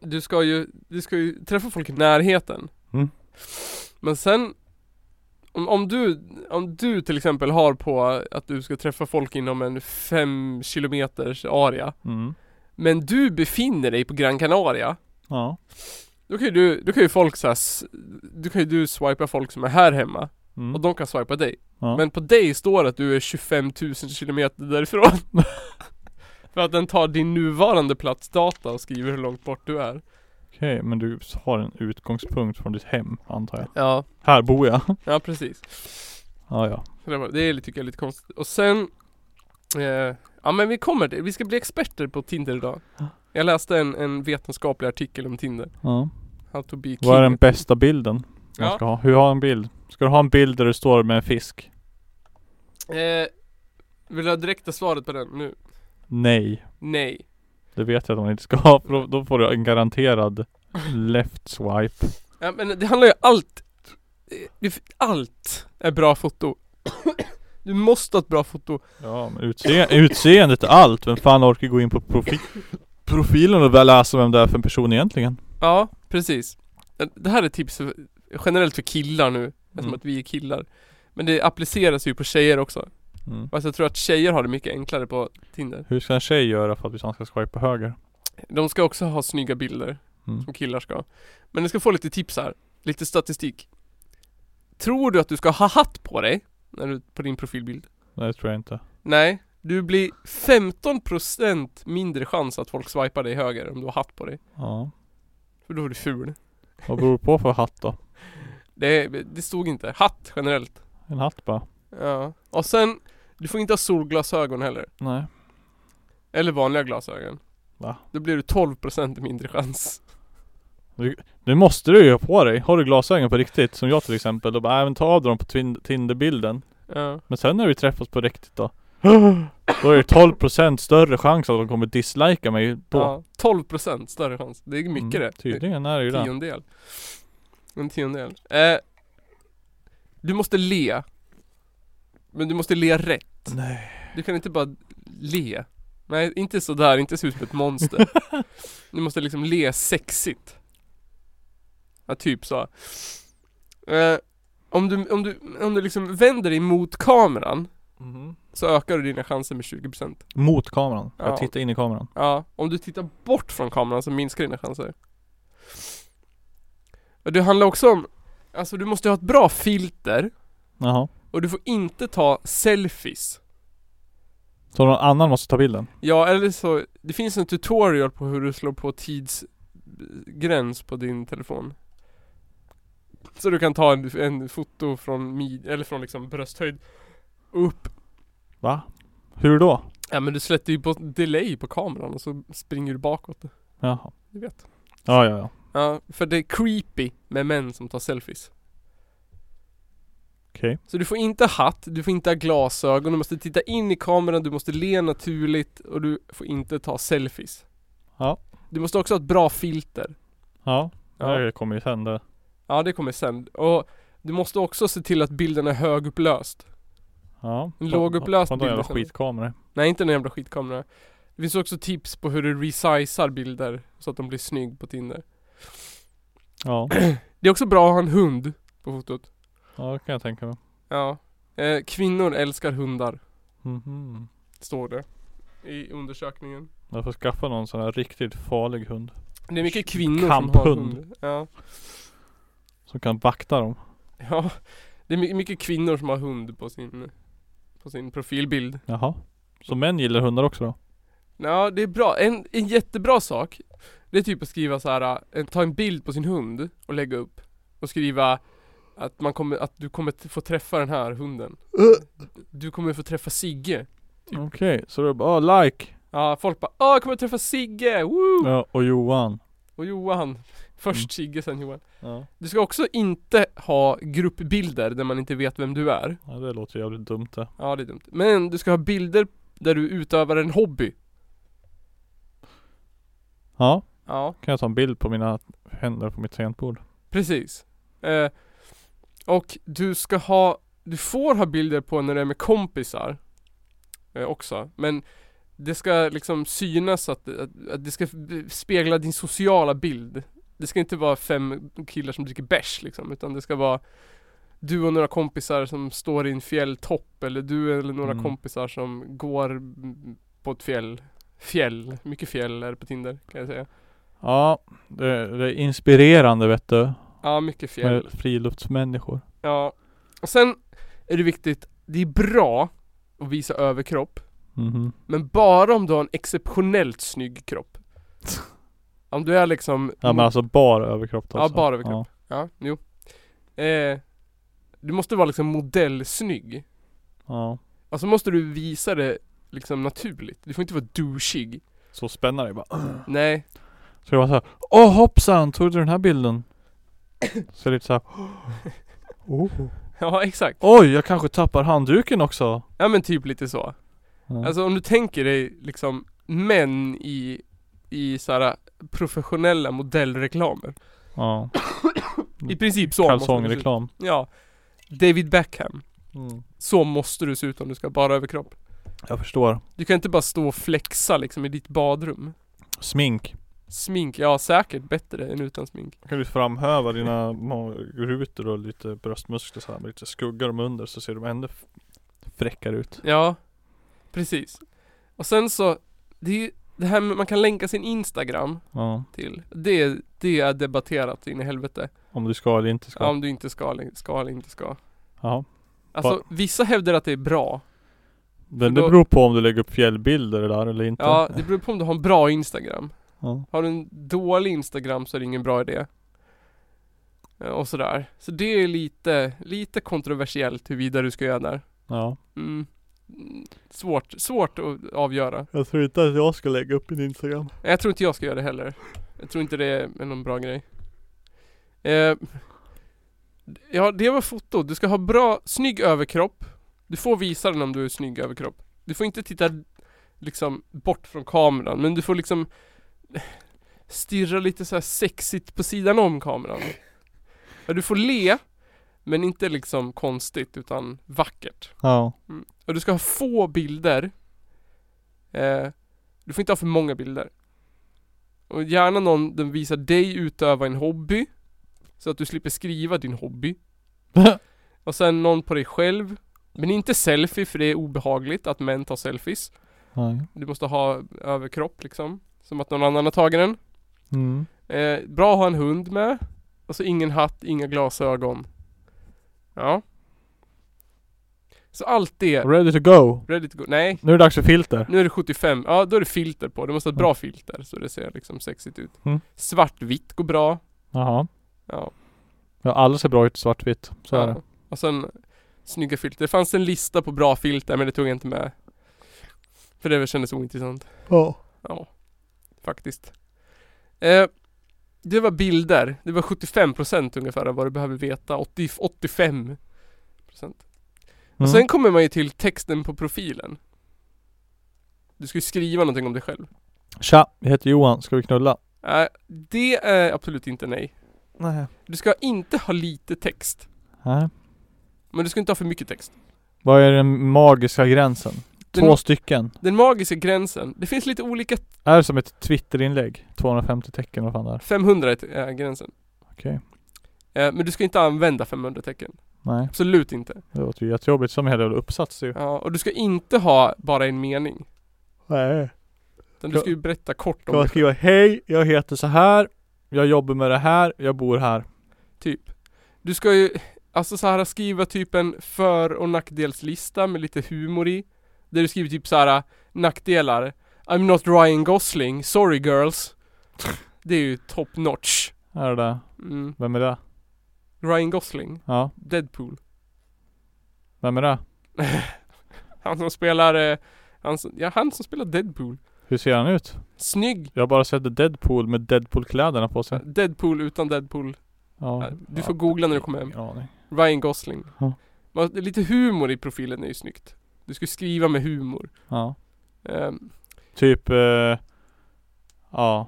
[SPEAKER 2] Du ska ju, du ska ju träffa folk i närheten
[SPEAKER 1] Mm.
[SPEAKER 2] Men sen om, om du, om du till exempel har på att du ska träffa folk inom en fem kilometers area
[SPEAKER 1] Mm.
[SPEAKER 2] Men du befinner dig på Gran Canaria
[SPEAKER 1] Ja.
[SPEAKER 2] Då kan ju du, då kan ju folk såhär, då kan ju du swipa folk som är här hemma
[SPEAKER 1] Mm.
[SPEAKER 2] och de kan swipa dig.
[SPEAKER 1] Ja.
[SPEAKER 2] Men på dig står att du är 25 000 kilometer därifrån. För att den tar din nuvarande platsdata och skriver hur långt bort du är.
[SPEAKER 1] Okej, men du har en utgångspunkt från ditt hem, antar jag.
[SPEAKER 2] Ja.
[SPEAKER 1] Här bor jag.
[SPEAKER 2] Ja precis.
[SPEAKER 1] Ja, ja.
[SPEAKER 2] Så det var- Det är, tycker jag är lite konstigt. Och sen, eh, ja men vi kommer till, vi ska bli experter på Tinder idag. Jag läste en, en vetenskaplig artikel om Tinder.
[SPEAKER 1] ja.
[SPEAKER 2] How to be king.
[SPEAKER 1] Vad är den bästa bilden man
[SPEAKER 2] Ja.
[SPEAKER 1] ska ha? Hur har en bild? Ska du ha en bild där du står med en fisk?
[SPEAKER 2] eh, vill du ha direkta svaret på den nu?
[SPEAKER 1] Nej.
[SPEAKER 2] Nej.
[SPEAKER 1] Det vet jag att man inte ska ha för då, då får du en garanterad left swipe.
[SPEAKER 2] Ja men det handlar ju allt eh, det- Allt är bra foto Du måste ha ett bra foto
[SPEAKER 1] Ja men utse utseendet är allt. Vem fan orkar gå in på profi profilen och väl läsa vem det är för en person egentligen?
[SPEAKER 2] Ja, precis. Det här är tips för, generellt för killar nu, eftersom
[SPEAKER 1] Mm.
[SPEAKER 2] att vi är killar. Men det appliceras ju på tjejer också.
[SPEAKER 1] Mm.
[SPEAKER 2] Fast jag tror att tjejer har det mycket enklare på Tinder.
[SPEAKER 1] Hur ska en tjej göra för att han ska swipa höger?
[SPEAKER 2] De ska också ha snygga bilder,
[SPEAKER 1] Mm.
[SPEAKER 2] som killar ska. Men du ska få lite tips här, lite statistik. Tror du att du ska ha hatt på dig, när du, på din profilbild?
[SPEAKER 1] Nej, det tror jag inte.
[SPEAKER 2] Nej, du blir 15% mindre chans att folk swipar dig höger om du har hatt på dig.
[SPEAKER 1] Ja.
[SPEAKER 2] För då är du ful.
[SPEAKER 1] Vad beror det på för hatt då?
[SPEAKER 2] Det, det stod inte. Hatt generellt.
[SPEAKER 1] En hatt bara?
[SPEAKER 2] Ja. Och sen, du får inte ha solglasögon heller.
[SPEAKER 1] Nej.
[SPEAKER 2] Eller vanliga glasögon.
[SPEAKER 1] Va?
[SPEAKER 2] Då blir du 12% mindre chans.
[SPEAKER 1] Det måste du ju ha på dig. Har du glasögon på riktigt? Som jag till exempel. Då bara, äh, men ta av dem på Twin- Tinder-bilden.
[SPEAKER 2] Ja.
[SPEAKER 1] Men sen när vi träffas på riktigt då. Då är det 12% större chans att de kommer dislika mig då.
[SPEAKER 2] ja. 12% större chans. Det är mycket
[SPEAKER 1] Mm,
[SPEAKER 2] det.
[SPEAKER 1] Tydligen är det ju
[SPEAKER 2] En
[SPEAKER 1] det.
[SPEAKER 2] tiondel. En tiondel. Eh, du måste le. Men du måste le rätt.
[SPEAKER 1] Nej.
[SPEAKER 2] Du kan inte bara le. Nej, inte sådär, inte se ut som ett monster. Du måste liksom le sexigt. Ja, typ så. Eh, om, du, om, du, om du liksom vänder dig mot kameran så ökar du dina chanser med 20%.
[SPEAKER 1] Mot kameran.
[SPEAKER 2] Ja.
[SPEAKER 1] Jag tittar in i kameran.
[SPEAKER 2] Ja, om du tittar bort från kameran så minskar dina chanser. Och det handlar också om, alltså du måste ha ett bra filter
[SPEAKER 1] Jaha.
[SPEAKER 2] och du får inte ta selfies.
[SPEAKER 1] Så någon annan måste ta bilden?
[SPEAKER 2] Ja, eller så, det finns en tutorial på hur du slår på tidsgräns på din telefon. Så du kan ta en, en foto från mid, eller från liksom brösthöjd upp.
[SPEAKER 1] Va? Hur då?
[SPEAKER 2] Ja men du släpper ju på delay på kameran och så springer du bakåt.
[SPEAKER 1] Jaha.
[SPEAKER 2] Du vet.
[SPEAKER 1] Ja, ja, ja.
[SPEAKER 2] Ja, för det är creepy med män som tar selfies.
[SPEAKER 1] Okej.
[SPEAKER 2] Så du får inte ha hatt, du får inte ha glasögon, du måste titta in i kameran, du måste le naturligt och du får inte ta selfies.
[SPEAKER 1] Ja.
[SPEAKER 2] Du måste också ha ett bra filter.
[SPEAKER 1] Ja. Det kommer ju sen det.
[SPEAKER 2] Ja det kommer sen. Och du måste också se till att bilden är högupplöst.
[SPEAKER 1] Ja.
[SPEAKER 2] En lågupplöst
[SPEAKER 1] bild. jävla
[SPEAKER 2] bild sen.
[SPEAKER 1] skitkamera.
[SPEAKER 2] Nej inte en jävla skitkamera. Det finns också tips på hur du resizar bilder så att de blir snygg på Tinder.
[SPEAKER 1] Ja.
[SPEAKER 2] Det är också bra att ha en hund på fotot.
[SPEAKER 1] Ja, det kan jag tänka mig.
[SPEAKER 2] Ja. Eh, kvinnor älskar hundar,
[SPEAKER 1] Mhm.
[SPEAKER 2] står det. I undersökningen.
[SPEAKER 1] Jag får skaffa någon sån här riktigt farlig hund.
[SPEAKER 2] Det är mycket kvinnor som har
[SPEAKER 1] Kamphund.
[SPEAKER 2] hund. Ja.
[SPEAKER 1] Som kan vakta dem.
[SPEAKER 2] ja. Det är my- mycket kvinnor som har hund på sin, på sin profilbild.
[SPEAKER 1] Jaha. Så män gillar hundar också då?
[SPEAKER 2] Ja, det är bra. En, en jättebra sak, det är typ att skriva så här, eh, ta en bild på sin hund och lägga upp. Och skriva att, man kommer, att du kommer t- få träffa den här hunden.
[SPEAKER 1] Äh.
[SPEAKER 2] Du kommer få träffa Sigge.
[SPEAKER 1] Okej, så då bara "Ah, like.
[SPEAKER 2] Ja, folk bara Åh, jag kommer träffa Sigge! Woo!
[SPEAKER 1] Ja, och Johan.
[SPEAKER 2] Och Johan. Först
[SPEAKER 1] Mm.
[SPEAKER 2] Sigge, sen Johan.
[SPEAKER 1] Ja.
[SPEAKER 2] Du ska också inte ha gruppbilder där man inte vet vem du är.
[SPEAKER 1] ja, det låter jävligt dumt det.
[SPEAKER 2] Ja, det är dumt. Men du ska ha bilder där du utövar en hobby.
[SPEAKER 1] Ja.
[SPEAKER 2] Ja.
[SPEAKER 1] Kan jag ta en bild på mina händer på mitt tangentbord?
[SPEAKER 2] Precis. Eh, och du ska ha, du får ha bilder på när du är med kompisar eh, också. Men det ska liksom synas att, att, att det ska f- spegla din sociala bild. Det ska inte vara fem killar som dricker bärs liksom, utan det ska vara du och några kompisar som står i en fjälltopp eller du eller några
[SPEAKER 1] Mm.
[SPEAKER 2] kompisar som går mm, på ett fjäll. Fjäll, mycket fjäll är det på Tinder kan jag säga.
[SPEAKER 1] Ja. Det, det är inspirerande vet du.
[SPEAKER 2] Ja, mycket fjäll.
[SPEAKER 1] Med friluftsmänniskor.
[SPEAKER 2] Ja. Och sen är det viktigt, det är bra att visa överkropp.
[SPEAKER 1] Mhm.
[SPEAKER 2] Men bara om du har en exceptionellt snygg kropp. Om du är liksom...
[SPEAKER 1] Ja men alltså bara överkropp då
[SPEAKER 2] Ja,
[SPEAKER 1] alltså.
[SPEAKER 2] bara överkropp. Ja, jo. Eh, du måste vara liksom modellsnygg.
[SPEAKER 1] Ja. ja.
[SPEAKER 2] Alltså måste du visa det liksom naturligt. Du får inte vara douchig.
[SPEAKER 1] Så spännande det bara.
[SPEAKER 2] Nej.
[SPEAKER 1] Så jag var såhär Åh hoppsan, tog du den här bilden? Så lite såhär oh.
[SPEAKER 2] Ja, exakt.
[SPEAKER 1] Oj, jag kanske tappar handduken också
[SPEAKER 2] Ja men typ lite så.
[SPEAKER 1] Mm. ja.
[SPEAKER 2] Alltså om du tänker dig liksom män i, i såhär professionella modellreklamer.
[SPEAKER 1] ja.
[SPEAKER 2] I princip så måste du se ut.
[SPEAKER 1] Kalsongreklam
[SPEAKER 2] Ja David Beckham
[SPEAKER 1] mm.
[SPEAKER 2] Så måste du se ut om du ska bara överkropp
[SPEAKER 1] Jag förstår
[SPEAKER 2] Du kan inte bara stå och flexa liksom i ditt badrum
[SPEAKER 1] Smink
[SPEAKER 2] Smink, ja säkert bättre än utan smink.
[SPEAKER 1] Kan du framhäva dina ma- rutor och lite bröstmuskler så här med lite skuggar dem under så ser de ännu f- fräckare ut.
[SPEAKER 2] Ja, precis. Och sen så, det, är ju- det här med man kan länka sin Instagram
[SPEAKER 1] Ja.
[SPEAKER 2] till. Det, det är debatterat in i helvete.
[SPEAKER 1] Om du ska eller inte ska.
[SPEAKER 2] Ja, om du inte ska, eller- ska eller inte ska.
[SPEAKER 1] Ja.
[SPEAKER 2] Alltså vissa hävdar att det är bra.
[SPEAKER 1] Men
[SPEAKER 2] För
[SPEAKER 1] det
[SPEAKER 2] då-
[SPEAKER 1] beror på om du lägger upp fjällbilder där eller inte.
[SPEAKER 2] Ja, det beror på om du har en bra Instagram.
[SPEAKER 1] Ja.
[SPEAKER 2] Har du en dålig Instagram så är det ingen bra idé. Eh, Och sådär. Så det är lite, lite kontroversiellt huruvida du ska göra där.
[SPEAKER 1] ja.
[SPEAKER 2] Mm. Mm, Svårt, svårt att avgöra.
[SPEAKER 1] Jag tror inte att jag ska lägga upp en Instagram.
[SPEAKER 2] Nej, Jag tror inte jag ska göra det heller. Jag tror inte det är någon bra grej. Eh, ja, det var foto. Du ska ha bra, snygg överkropp. Du får visa den om du är snygg överkropp. Du får inte titta liksom bort från kameran, men du får liksom stirra lite så här sexigt på sidan om kameran. Ja, du får le, men inte liksom konstigt utan vackert.
[SPEAKER 1] Ja.
[SPEAKER 2] Och du ska ha få bilder. Eh, du får inte ha för många bilder. Och gärna någon den visar dig utöva en hobby. Så att du slipper skriva din hobby. Och sen någon på dig själv. Men inte selfie för det är obehagligt att män tar selfies.
[SPEAKER 1] Nej.
[SPEAKER 2] Du måste ha överkropp liksom. Som att någon annan har tagit den.
[SPEAKER 1] Mm.
[SPEAKER 2] Eh, bra att ha en hund med. Och så ingen hatt, inga glasögon. Ja. Så allt det.
[SPEAKER 1] Ready to go.
[SPEAKER 2] Ready to go. Nej,
[SPEAKER 1] Nu är det dags för filter.
[SPEAKER 2] Typ. nu är det 75, ja då är det filter på. Du måste ha ett bra filter så det ser liksom sexigt ut.
[SPEAKER 1] Mm.
[SPEAKER 2] Svartvitt går bra.
[SPEAKER 1] Jaha.
[SPEAKER 2] Ja.
[SPEAKER 1] Ja, alla ser bra ut i svartvitt. Så är det.
[SPEAKER 2] ja. Och sen snygga filter. Det fanns en lista på bra filter men det tog jag inte med. För det kändes ointressant.
[SPEAKER 1] Ja.
[SPEAKER 2] Ja, faktiskt. Eh, det var bilder. Det var 75% ungefär av vad du behöver veta. 80, 85%. Och
[SPEAKER 1] Mm.
[SPEAKER 2] sen kommer man ju till texten på profilen. Du ska ju skriva någonting om dig själv.
[SPEAKER 1] Tja, jag heter Johan. Ska vi knulla?
[SPEAKER 2] Nej, det är absolut inte nej.
[SPEAKER 1] Nej.
[SPEAKER 2] Du ska inte ha lite text.
[SPEAKER 1] Nej.
[SPEAKER 2] Men du ska inte ha för mycket text.
[SPEAKER 1] Vad är den magiska gränsen?
[SPEAKER 2] Den,
[SPEAKER 1] Två stycken.
[SPEAKER 2] den magiska gränsen. Det finns lite olika.
[SPEAKER 1] Är det som ett twitterinlägg? 250 tecken, vad fan det är?
[SPEAKER 2] 500 är eh, gränsen.
[SPEAKER 1] Okej.
[SPEAKER 2] Eh, men du ska inte använda 500 tecken.
[SPEAKER 1] Nej,
[SPEAKER 2] Absolut inte.
[SPEAKER 1] det låter ju jättejobbigt. Som en hel jävla uppsats ju.
[SPEAKER 2] Ja, och du ska inte ha bara en mening.
[SPEAKER 1] Nej.
[SPEAKER 2] Utan du ska ju berätta kort om
[SPEAKER 1] Ska man
[SPEAKER 2] dig själv,
[SPEAKER 1] skriva hej, jag heter så här. Jag jobbar med det här. Jag bor här.
[SPEAKER 2] typ. Du ska ju, alltså så här skriva typ en för och nackdelslista med lite humor i. Där du skriver typ så här nackdelar. I'm not Ryan Gosling, sorry girls. Det är ju top notch.
[SPEAKER 1] Är det där?
[SPEAKER 2] Mm.
[SPEAKER 1] Vem är det?
[SPEAKER 2] Ryan Gosling,
[SPEAKER 1] Ja.
[SPEAKER 2] Deadpool.
[SPEAKER 1] Vem är det?
[SPEAKER 2] Han som spelar, eh, han som, ja han som spelar Deadpool.
[SPEAKER 1] Hur ser han ut?
[SPEAKER 2] Snygg!
[SPEAKER 1] Jag har bara sett Deadpool med Deadpool-kläderna på sig.
[SPEAKER 2] Deadpool utan Deadpool. Äh,
[SPEAKER 1] Ja.
[SPEAKER 2] Du får googla när du kommer hem.
[SPEAKER 1] Ingen aning.
[SPEAKER 2] Ryan Gosling.
[SPEAKER 1] Ja.
[SPEAKER 2] Men det är Lite humor i profilen är ju snyggt. Du ska skriva med humor.
[SPEAKER 1] Ja.
[SPEAKER 2] Ehm,
[SPEAKER 1] Typ, eh, ja.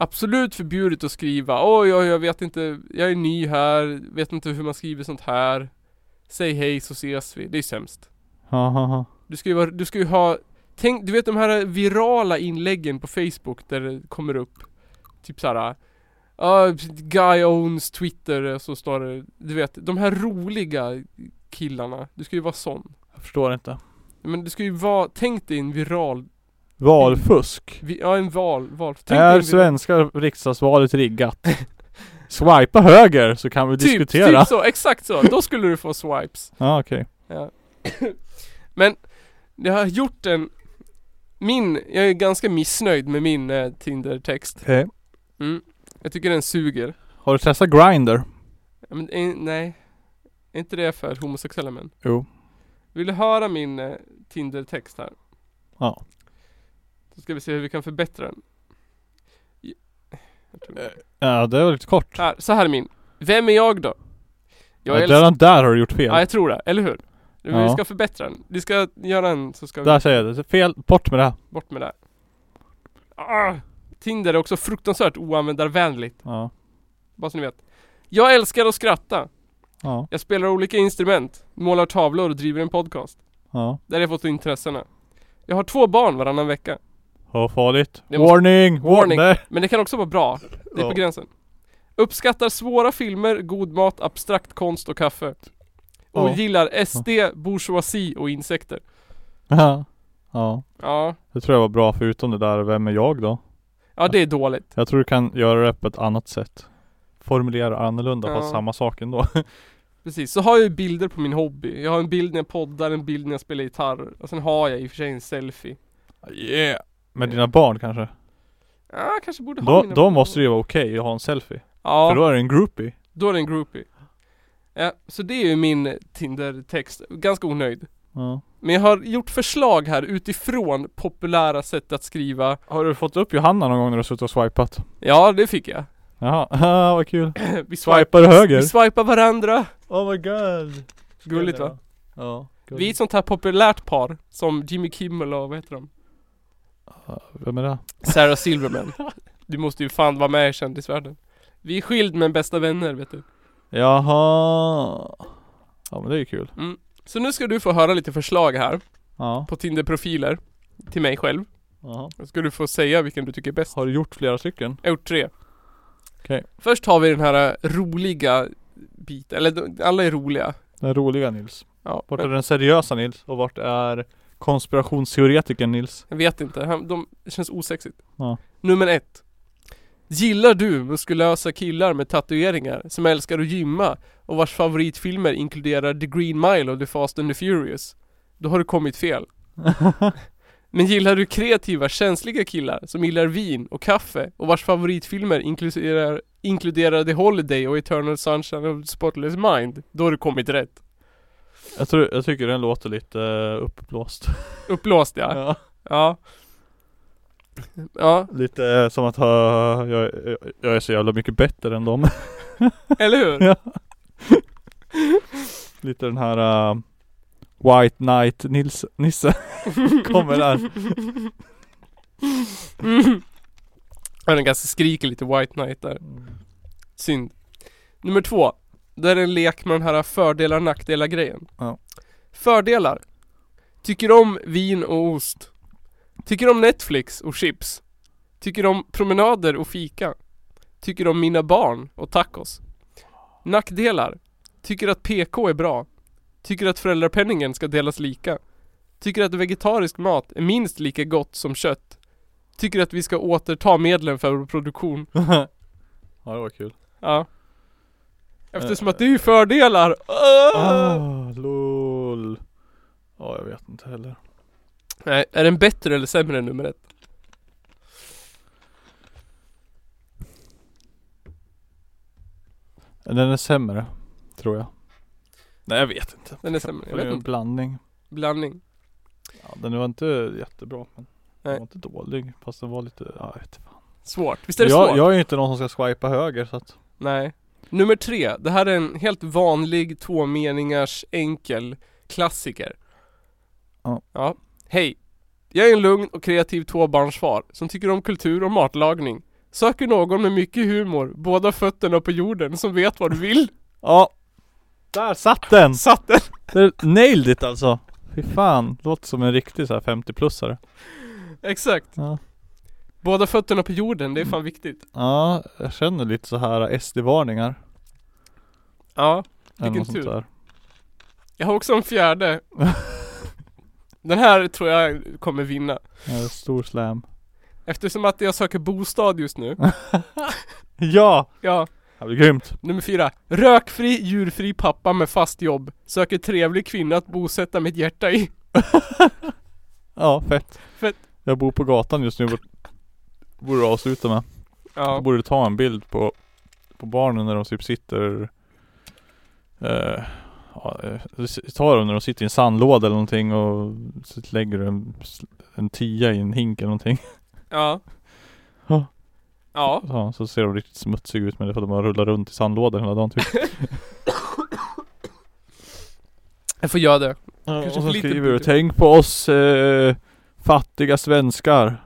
[SPEAKER 2] absolut förbjudet att skriva oj oj jag vet inte, jag är ny här, vet inte hur man skriver sånt här. Säg hej så ses vi. Det är sämst.
[SPEAKER 1] Ha, ha, ha.
[SPEAKER 2] Du ska ju, vara, du ska ju ha Tänk, du vet de här virala inläggen på Facebook där det kommer upp Typ såhär uh, Guy owns Twitter och så står det Du vet, de här roliga killarna Du ska ju vara sån
[SPEAKER 1] Jag förstår inte.
[SPEAKER 2] Men du ska ju vara, tänk dig en viral
[SPEAKER 1] Valfusk.
[SPEAKER 2] vi, Ja en val, val tänk dig
[SPEAKER 1] Är
[SPEAKER 2] en viral-
[SPEAKER 1] svenska riksdagsvalet riggat? Swipa höger så kan vi
[SPEAKER 2] typ,
[SPEAKER 1] diskutera.
[SPEAKER 2] typ så, exakt så! Då skulle du få swipes
[SPEAKER 1] Ja okej.
[SPEAKER 2] Men Jag har gjort en Min, jag är ganska missnöjd med min eh, Tinder-text
[SPEAKER 1] Okej.
[SPEAKER 2] mm. Jag tycker den suger
[SPEAKER 1] Har du testat Grindr?
[SPEAKER 2] Ja, Men eh, nej. Är inte det för homosexuella män?
[SPEAKER 1] Jo.
[SPEAKER 2] Vill du höra min eh, Tinder-text här?
[SPEAKER 1] Ja.
[SPEAKER 2] Så ska vi se hur vi kan förbättra den. I- Jag tror-
[SPEAKER 1] Ja det var lite kort.
[SPEAKER 2] Här, så här är min. Vem är jag då? Jag
[SPEAKER 1] ja,
[SPEAKER 2] älskar...
[SPEAKER 1] redan där har du gjort fel.
[SPEAKER 2] Ja, jag tror det. Eller hur? Men Vi
[SPEAKER 1] Ja.
[SPEAKER 2] ska förbättra den. Vi ska göra en så ska vi
[SPEAKER 1] Där säger jag det. Fel. Bort med det här.
[SPEAKER 2] bort med det. här. Ah, Tinder är också fruktansvärt oanvändarvänligt.
[SPEAKER 1] Ja.
[SPEAKER 2] Bara så ni vet. Jag älskar att skratta.
[SPEAKER 1] Ja.
[SPEAKER 2] Jag spelar olika instrument. Målar tavlor och driver en podcast.
[SPEAKER 1] Ja.
[SPEAKER 2] Där har jag fått intressena. Jag har två barn varannan vecka.
[SPEAKER 1] Hur farligt?
[SPEAKER 2] Jag måste-
[SPEAKER 1] Warning!
[SPEAKER 2] Warning.
[SPEAKER 1] Där.
[SPEAKER 2] Men det kan också vara bra. Det är
[SPEAKER 1] Ja.
[SPEAKER 2] på gränsen. Uppskattar svåra filmer, god mat, abstrakt konst och kaffe. Och
[SPEAKER 1] Ja.
[SPEAKER 2] gillar SD, bourgeoisie och insekter.
[SPEAKER 1] Ja. ja.
[SPEAKER 2] Ja.
[SPEAKER 1] Det tror jag var bra förutom det där, vem är jag då?
[SPEAKER 2] Ja det är dåligt.
[SPEAKER 1] Jag tror du kan göra det på ett annat sätt. Formulera annorlunda
[SPEAKER 2] Ja.
[SPEAKER 1] fast samma sak ändå.
[SPEAKER 2] Precis. Så har jag ju bilder på min hobby. Jag har en bild när jag poddar, en bild när jag spelar gitarr. Och sen har jag i och för sig en selfie.
[SPEAKER 1] yeah. Med dina barn kanske?
[SPEAKER 2] Ja, jag kanske borde ha
[SPEAKER 1] Då,
[SPEAKER 2] mina
[SPEAKER 1] då måste det ju vara okej att ha en selfie.
[SPEAKER 2] Ja,
[SPEAKER 1] För då är det en groupie.
[SPEAKER 2] då är det en groupie. Ja, så det är ju min Tinder-text. Ganska onöjd.
[SPEAKER 1] Ja.
[SPEAKER 2] Men jag har gjort förslag här utifrån populära sätt att skriva.
[SPEAKER 1] Har du fått upp Johanna någon gång när du har suttit och swipat?
[SPEAKER 2] Ja, det fick jag.
[SPEAKER 1] Jaha, ah, vad kul.
[SPEAKER 2] Vi swipar,
[SPEAKER 1] Swipar höger?
[SPEAKER 2] vi swipar varandra.
[SPEAKER 1] Oh my god.
[SPEAKER 2] Gulligt va?
[SPEAKER 1] Ja.
[SPEAKER 2] Vi är ett sånt här populärt par som Jimmy Kimmel och vad heter de?
[SPEAKER 1] Vem är det?
[SPEAKER 2] Sarah Silverman. Du måste ju fan vara med i kändisvärlden. Vi är skild men bästa vänner vet du.
[SPEAKER 1] Jaha. Ja men det är ju kul.
[SPEAKER 2] Så nu ska du få höra lite förslag här
[SPEAKER 1] Ja.
[SPEAKER 2] på Tinder-profiler till mig själv.
[SPEAKER 1] Jaha.
[SPEAKER 2] Då ska du få säga vilken du tycker är bäst.
[SPEAKER 1] Har du gjort flera stycken?
[SPEAKER 2] Jag har gjort tre.
[SPEAKER 1] Okej.
[SPEAKER 2] Först har vi den här eh, roliga biten, eller de- alla är roliga.
[SPEAKER 1] Den roliga Nils.
[SPEAKER 2] Ja,
[SPEAKER 1] Vart är
[SPEAKER 2] men
[SPEAKER 1] den seriösa Nils? Och vart är konspirationsteoretikern Nils?
[SPEAKER 2] jag vet inte, Han- de det känns osexigt.
[SPEAKER 1] Ja.
[SPEAKER 2] Nummer ett. Gillar du muskulösa killar med tatueringar som älskar att gymma och vars favoritfilmer inkluderar The Green Mile och The Fast and the Furious? Då har du kommit fel. Men gillar du kreativa, känsliga killar som gillar vin och kaffe och vars favoritfilmer inkluderar, inkluderar The Holiday och Eternal Sunshine of the Spotless Mind? Då har du kommit rätt.
[SPEAKER 1] jag, tror, jag tycker den låter lite eh, uppblåst.
[SPEAKER 2] Uppblåst ja.
[SPEAKER 1] Ja.
[SPEAKER 2] Ja. Ja,
[SPEAKER 1] Lite eh, som att ha, jag, jag, jag är så jävla mycket bättre än dem.
[SPEAKER 2] eller hur?
[SPEAKER 1] Ja. Lite den här eh, White Knight Nils, Nisse kommer där.
[SPEAKER 2] Mm. Ja, den ganska skriker lite White Knight där. Synd. Nummer två. Det är en lek med den här fördelar nackdelar grejen.
[SPEAKER 1] Ja.
[SPEAKER 2] Fördelar. Tycker om vin och ost. Tycker om Netflix och chips. Tycker om promenader och fika. Tycker om mina barn och tacos. Nackdelar. Tycker att PK är bra. Tycker att föräldrapenningen ska delas lika. Tycker att vegetarisk mat är minst lika gott som kött. Tycker att vi ska återta medlen för vår produktion.
[SPEAKER 1] ja det var kul.
[SPEAKER 2] Ja. Eftersom att det är ju fördelar. Ah!
[SPEAKER 1] Ah, lol. Ja jag vet inte heller.
[SPEAKER 2] Nej, är den bättre eller sämre än nummer ett?
[SPEAKER 1] Den är sämre, tror jag. Nej jag vet inte.
[SPEAKER 2] Den är sämre.
[SPEAKER 1] Det
[SPEAKER 2] Jag
[SPEAKER 1] är
[SPEAKER 2] vet
[SPEAKER 1] en
[SPEAKER 2] inte.
[SPEAKER 1] blandning.
[SPEAKER 2] Blandning.
[SPEAKER 1] Ja, den var inte jättebra men
[SPEAKER 2] Nej.
[SPEAKER 1] Den var inte dålig fast den var lite, ja, jag vet inte.
[SPEAKER 2] Svårt. Visst är det svårt?
[SPEAKER 1] Jag, jag är ju inte någon som ska swipa höger så att
[SPEAKER 2] Nej. Nummer tre. Det här är en helt vanlig tvåmeningars enkel klassiker.
[SPEAKER 1] Ja.
[SPEAKER 2] ja. Hej. Jag är en lugn och kreativ tvåbarnsfar som tycker om kultur och matlagning. Söker någon med mycket humor, båda fötterna på jorden, som vet vad du vill.
[SPEAKER 1] Ja! Där satt den!
[SPEAKER 2] Satt den!
[SPEAKER 1] Där, nailed it alltså! Fy fan, låter som en riktig så här 50-plussare
[SPEAKER 2] Exakt.
[SPEAKER 1] ja.
[SPEAKER 2] Båda fötterna på jorden, det är fan viktigt.
[SPEAKER 1] ja, jag känner lite så här SD-varningar
[SPEAKER 2] Ja.
[SPEAKER 1] eller
[SPEAKER 2] Vilken
[SPEAKER 1] något sånt
[SPEAKER 2] tur.
[SPEAKER 1] där.
[SPEAKER 2] Jag har också en fjärde. Den här tror jag kommer vinna.
[SPEAKER 1] Ja, Stor slam
[SPEAKER 2] Eftersom att jag söker bostad just nu.
[SPEAKER 1] Ja!
[SPEAKER 2] Ja,
[SPEAKER 1] Det blir grymt!
[SPEAKER 2] nummer fyra. Rökfri, djurfri pappa med fast jobb. Söker trevlig kvinna att bosätta mitt hjärta i.
[SPEAKER 1] Ja, fett!
[SPEAKER 2] Fett.
[SPEAKER 1] Jag bor på gatan just nu Borde- Borde du avsluta med Då
[SPEAKER 2] Ja,
[SPEAKER 1] borde du ta en bild på, på barnen när de typ sitter eh, ja, eh, s- Ta dem när de sitter i en sandlåda eller någonting och så lägger du en, s- en tia i en hink eller någonting
[SPEAKER 2] ja.
[SPEAKER 1] Ja.
[SPEAKER 2] Ja,
[SPEAKER 1] ja, Så ser de riktigt smutsiga ut men det är för att de har rullat runt i sandlådan hela dagen typ
[SPEAKER 2] jag får göra det.
[SPEAKER 1] Ja, Och
[SPEAKER 2] Kanske
[SPEAKER 1] så
[SPEAKER 2] för lite
[SPEAKER 1] skriver du
[SPEAKER 2] budget.
[SPEAKER 1] Tänk på oss eh, fattiga svenskar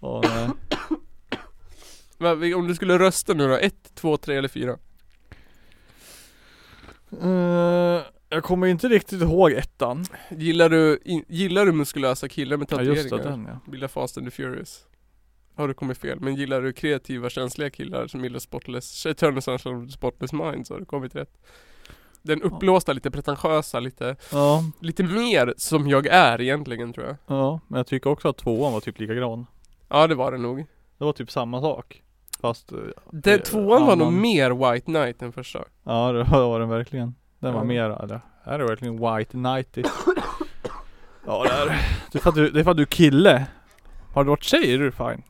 [SPEAKER 1] Åh nej
[SPEAKER 2] Men vi- Om du skulle rösta nu då? Ett, två, tre eller fyra?
[SPEAKER 1] Eh, Jag kommer inte riktigt ihåg ettan.
[SPEAKER 2] Gillar du, in, gillar du muskulösa killar med
[SPEAKER 1] Ja just det,
[SPEAKER 2] tatueringar?
[SPEAKER 1] den ja.
[SPEAKER 2] Gillar Fast and the Furious? Har du kommit fel? Men gillar du kreativa, känsliga killar som gillar Spotless, Eternal Sunshine of the Spotless Mind så har du kommit rätt. Den uppblåsta, lite pretentiösa, lite,
[SPEAKER 1] Ja,
[SPEAKER 2] lite mer som jag är egentligen tror jag.
[SPEAKER 1] ja. Men jag tycker också att tvåan var typ likadan.
[SPEAKER 2] Ja det var det nog.
[SPEAKER 1] Det var typ samma sak. Fast, eh,
[SPEAKER 2] Den,
[SPEAKER 1] Eh,
[SPEAKER 2] tvåan var nog
[SPEAKER 1] annan-
[SPEAKER 2] mer White Knight än första.
[SPEAKER 1] ja det var den verkligen. Den var
[SPEAKER 2] Ja.
[SPEAKER 1] mer, eller? Här är det verkligen white nighty. Ja det är det. är för att du- Det är för att du är kille. Har du varit tjej är du fine.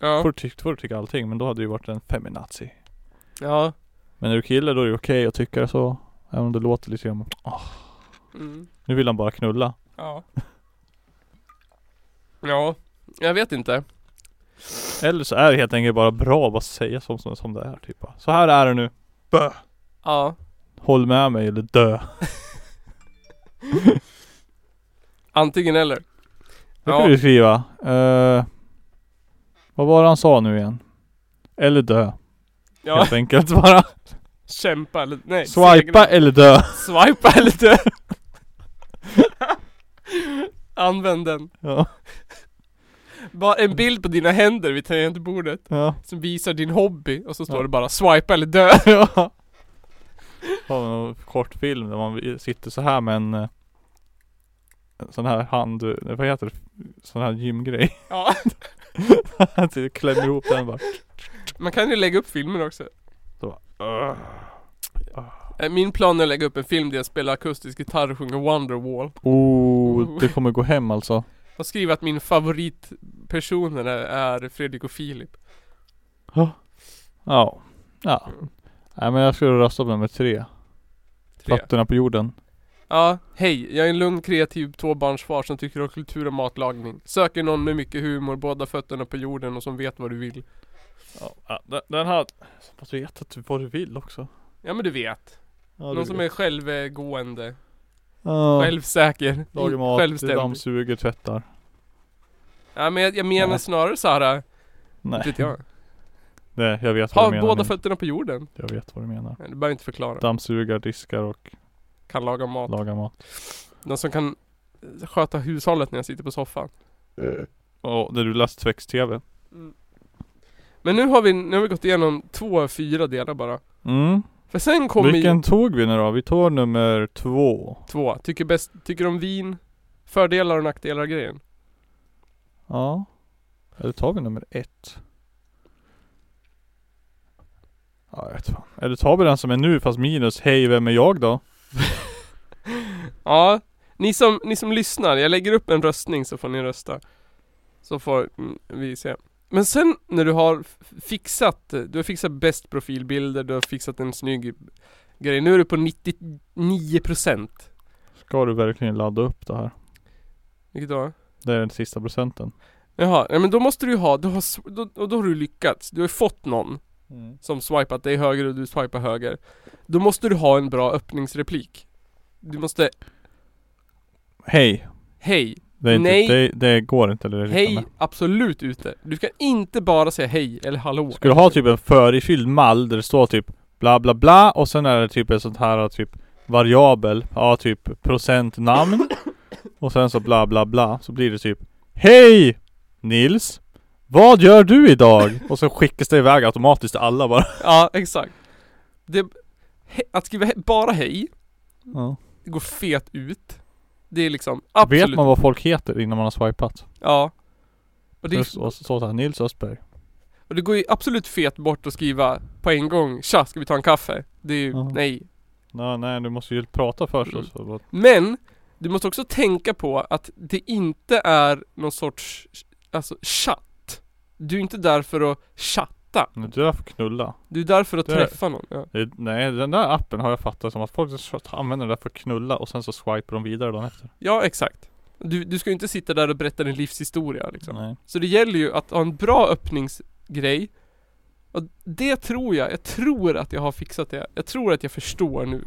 [SPEAKER 2] Ja.
[SPEAKER 1] Får du tycka, får du tycka allting, men då hade du ju varit en feminazi.
[SPEAKER 2] Ja.
[SPEAKER 1] Men är du kille då är det okej att tycka det så. Även om det låter lite grann, "Åh,
[SPEAKER 2] Mm.
[SPEAKER 1] nu vill han bara knulla.
[SPEAKER 2] Ja. Ja. Jag vet inte.
[SPEAKER 1] Eller så är det helt enkelt bara bra att bara säga som, som, som det är typ. bara, Så här är det nu. Bö!
[SPEAKER 2] Ja.
[SPEAKER 1] Håll med mig eller dö.
[SPEAKER 2] Antingen eller.
[SPEAKER 1] Det
[SPEAKER 2] Ja.
[SPEAKER 1] kan du skriva. Eh, vad var det han sa nu igen? Eller dö.
[SPEAKER 2] Ja.
[SPEAKER 1] Helt enkelt bara.
[SPEAKER 2] Kämpa eller nej.
[SPEAKER 1] Swipa eller dö.
[SPEAKER 2] Swipa lite. Använd den.
[SPEAKER 1] Ja.
[SPEAKER 2] Bara en bild på dina händer vid tangentbordet
[SPEAKER 1] Ja.
[SPEAKER 2] som visar din hobby och så står
[SPEAKER 1] Ja.
[SPEAKER 2] det bara swipa eller dö.
[SPEAKER 1] ja. Har vi någon kort film där man sitter så här med en eh, en sån här hand, eh, vad heter det? Sån här gymgrej.
[SPEAKER 2] Ja.
[SPEAKER 1] Han sitter och klämmer ihop den bara.
[SPEAKER 2] Man kan ju lägga upp filmer också.
[SPEAKER 1] "Ugh."
[SPEAKER 2] Eh, Min plan är att lägga upp en film där jag spelar akustisk gitarr och sjunger Wonderwall.
[SPEAKER 1] Oh, det kommer gå hem alltså.
[SPEAKER 2] Och skriver att min favoritpersoner är är Fredrik och Filip.
[SPEAKER 1] Ja. Ja. Nej men jag skulle rösta på nummer tre.
[SPEAKER 2] Tre.
[SPEAKER 1] Plattorna på jorden.
[SPEAKER 2] Ja, hej. Jag är en lugn, kreativ tvåbarnsfar som tycker om kultur och matlagning. Söker någon med mycket humor, båda fötterna på jorden och som vet vad du vill.
[SPEAKER 1] Ja, ja, den, den här. Fast du vet att du, vad du vill också.
[SPEAKER 2] Ja men du vet.
[SPEAKER 1] Ja,
[SPEAKER 2] någon som är självgående.
[SPEAKER 1] ja.
[SPEAKER 2] Självsäker.
[SPEAKER 1] Lagar mat,
[SPEAKER 2] Självständig.
[SPEAKER 1] dammsuger, tvättar.
[SPEAKER 2] Ja men jag, jag menar
[SPEAKER 1] Nej.
[SPEAKER 2] snarare såhär.
[SPEAKER 1] Nej.
[SPEAKER 2] Vet jag.
[SPEAKER 1] Nej, jag vet vad du
[SPEAKER 2] Ha
[SPEAKER 1] menar.
[SPEAKER 2] båda
[SPEAKER 1] men-
[SPEAKER 2] fötterna på jorden.
[SPEAKER 1] Jag vet vad du menar.
[SPEAKER 2] Ja, Du behöver inte förklara.
[SPEAKER 1] Dammsugar, diskar och
[SPEAKER 2] Kan laga mat.
[SPEAKER 1] lagar mat.
[SPEAKER 2] Någon som kan eh, sköta hushållet när jag sitter på soffan.
[SPEAKER 1] Och när du läst text-tv.
[SPEAKER 2] Men nu har vi, nu har vi gått igenom två av fyra delar bara.
[SPEAKER 1] Mm.
[SPEAKER 2] För sen kommer
[SPEAKER 1] Vilken
[SPEAKER 2] ju
[SPEAKER 1] tog vi nu då? Vi tog nummer två.
[SPEAKER 2] två. Tycker bäst, tycker om vin. Fördelar och nackdelar och grejen.
[SPEAKER 1] Ja. Eller tar vi nummer ett? Ja, jag vet fan. Eller tar vi den som är nu fast minus Hej, vem är jag då?
[SPEAKER 2] Ja, ni som, ni som lyssnar, jag lägger upp en röstning så får ni rösta. Så får mm, vi se. Men sen när du har f- fixat, du har fixat bäst profilbilder, du har fixat en snygg grej. Nu är du på 99%.
[SPEAKER 1] Ska du verkligen ladda upp det här?
[SPEAKER 2] Vilket då?
[SPEAKER 1] Det är den sista procenten.
[SPEAKER 2] Jaha, ja, men då måste du ju ha, du har, s- då, och då har du lyckats. Du har ju fått någon som swipat dig höger och du swipar höger. Då måste du ha en bra öppningsreplik. Du måste,
[SPEAKER 1] Hej.
[SPEAKER 2] hej,
[SPEAKER 1] Det, är inte,
[SPEAKER 2] Nej.
[SPEAKER 1] Det, det går inte. Eller det rimmar
[SPEAKER 2] hej,
[SPEAKER 1] med.
[SPEAKER 2] absolut ute. Du kan inte bara säga hej eller hallå.
[SPEAKER 1] Ska du ha typ en förifylld mall där det står typ bla bla bla och sen är det typ ett sånt här typ variabel, ja typ procentnamn och sen så bla bla bla så blir det typ Hej Nils! Vad gör du idag? Och så skickas det iväg automatiskt till alla bara.
[SPEAKER 2] Ja, exakt. Det, he, att skriva he, bara hej, det går fet ut. Det är liksom absolut...
[SPEAKER 1] Vet man vad folk heter innan man har swipat?
[SPEAKER 2] Ja. Och det,
[SPEAKER 1] Så, så, så här, Nils Östberg.
[SPEAKER 2] och det går ju absolut fet bort att skriva på en gång Tja, ska vi ta en kaffe? Det är ju,
[SPEAKER 1] Ja.
[SPEAKER 2] nej.
[SPEAKER 1] Nej, nej du måste ju prata först
[SPEAKER 2] Mm.
[SPEAKER 1] och så. bara-
[SPEAKER 2] Men, du måste också tänka på att det inte är någon sorts, alltså chatt. Du är inte där för att chatta.
[SPEAKER 1] Men Du är för knulla.
[SPEAKER 2] Du är där för att
[SPEAKER 1] Det-
[SPEAKER 2] träffa någon. Ja.
[SPEAKER 1] Det- Nej den där appen har jag fattat som att folk använder den där för att knulla och sen så swipar de vidare dagen efter.
[SPEAKER 2] ja, exakt. Du, du ska ju inte sitta där och berätta din livshistoria liksom.
[SPEAKER 1] Nej.
[SPEAKER 2] Så det gäller ju att ha en bra öppningsgrej. Och det tror jag, jag tror att jag har fixat det. Jag tror att jag förstår nu.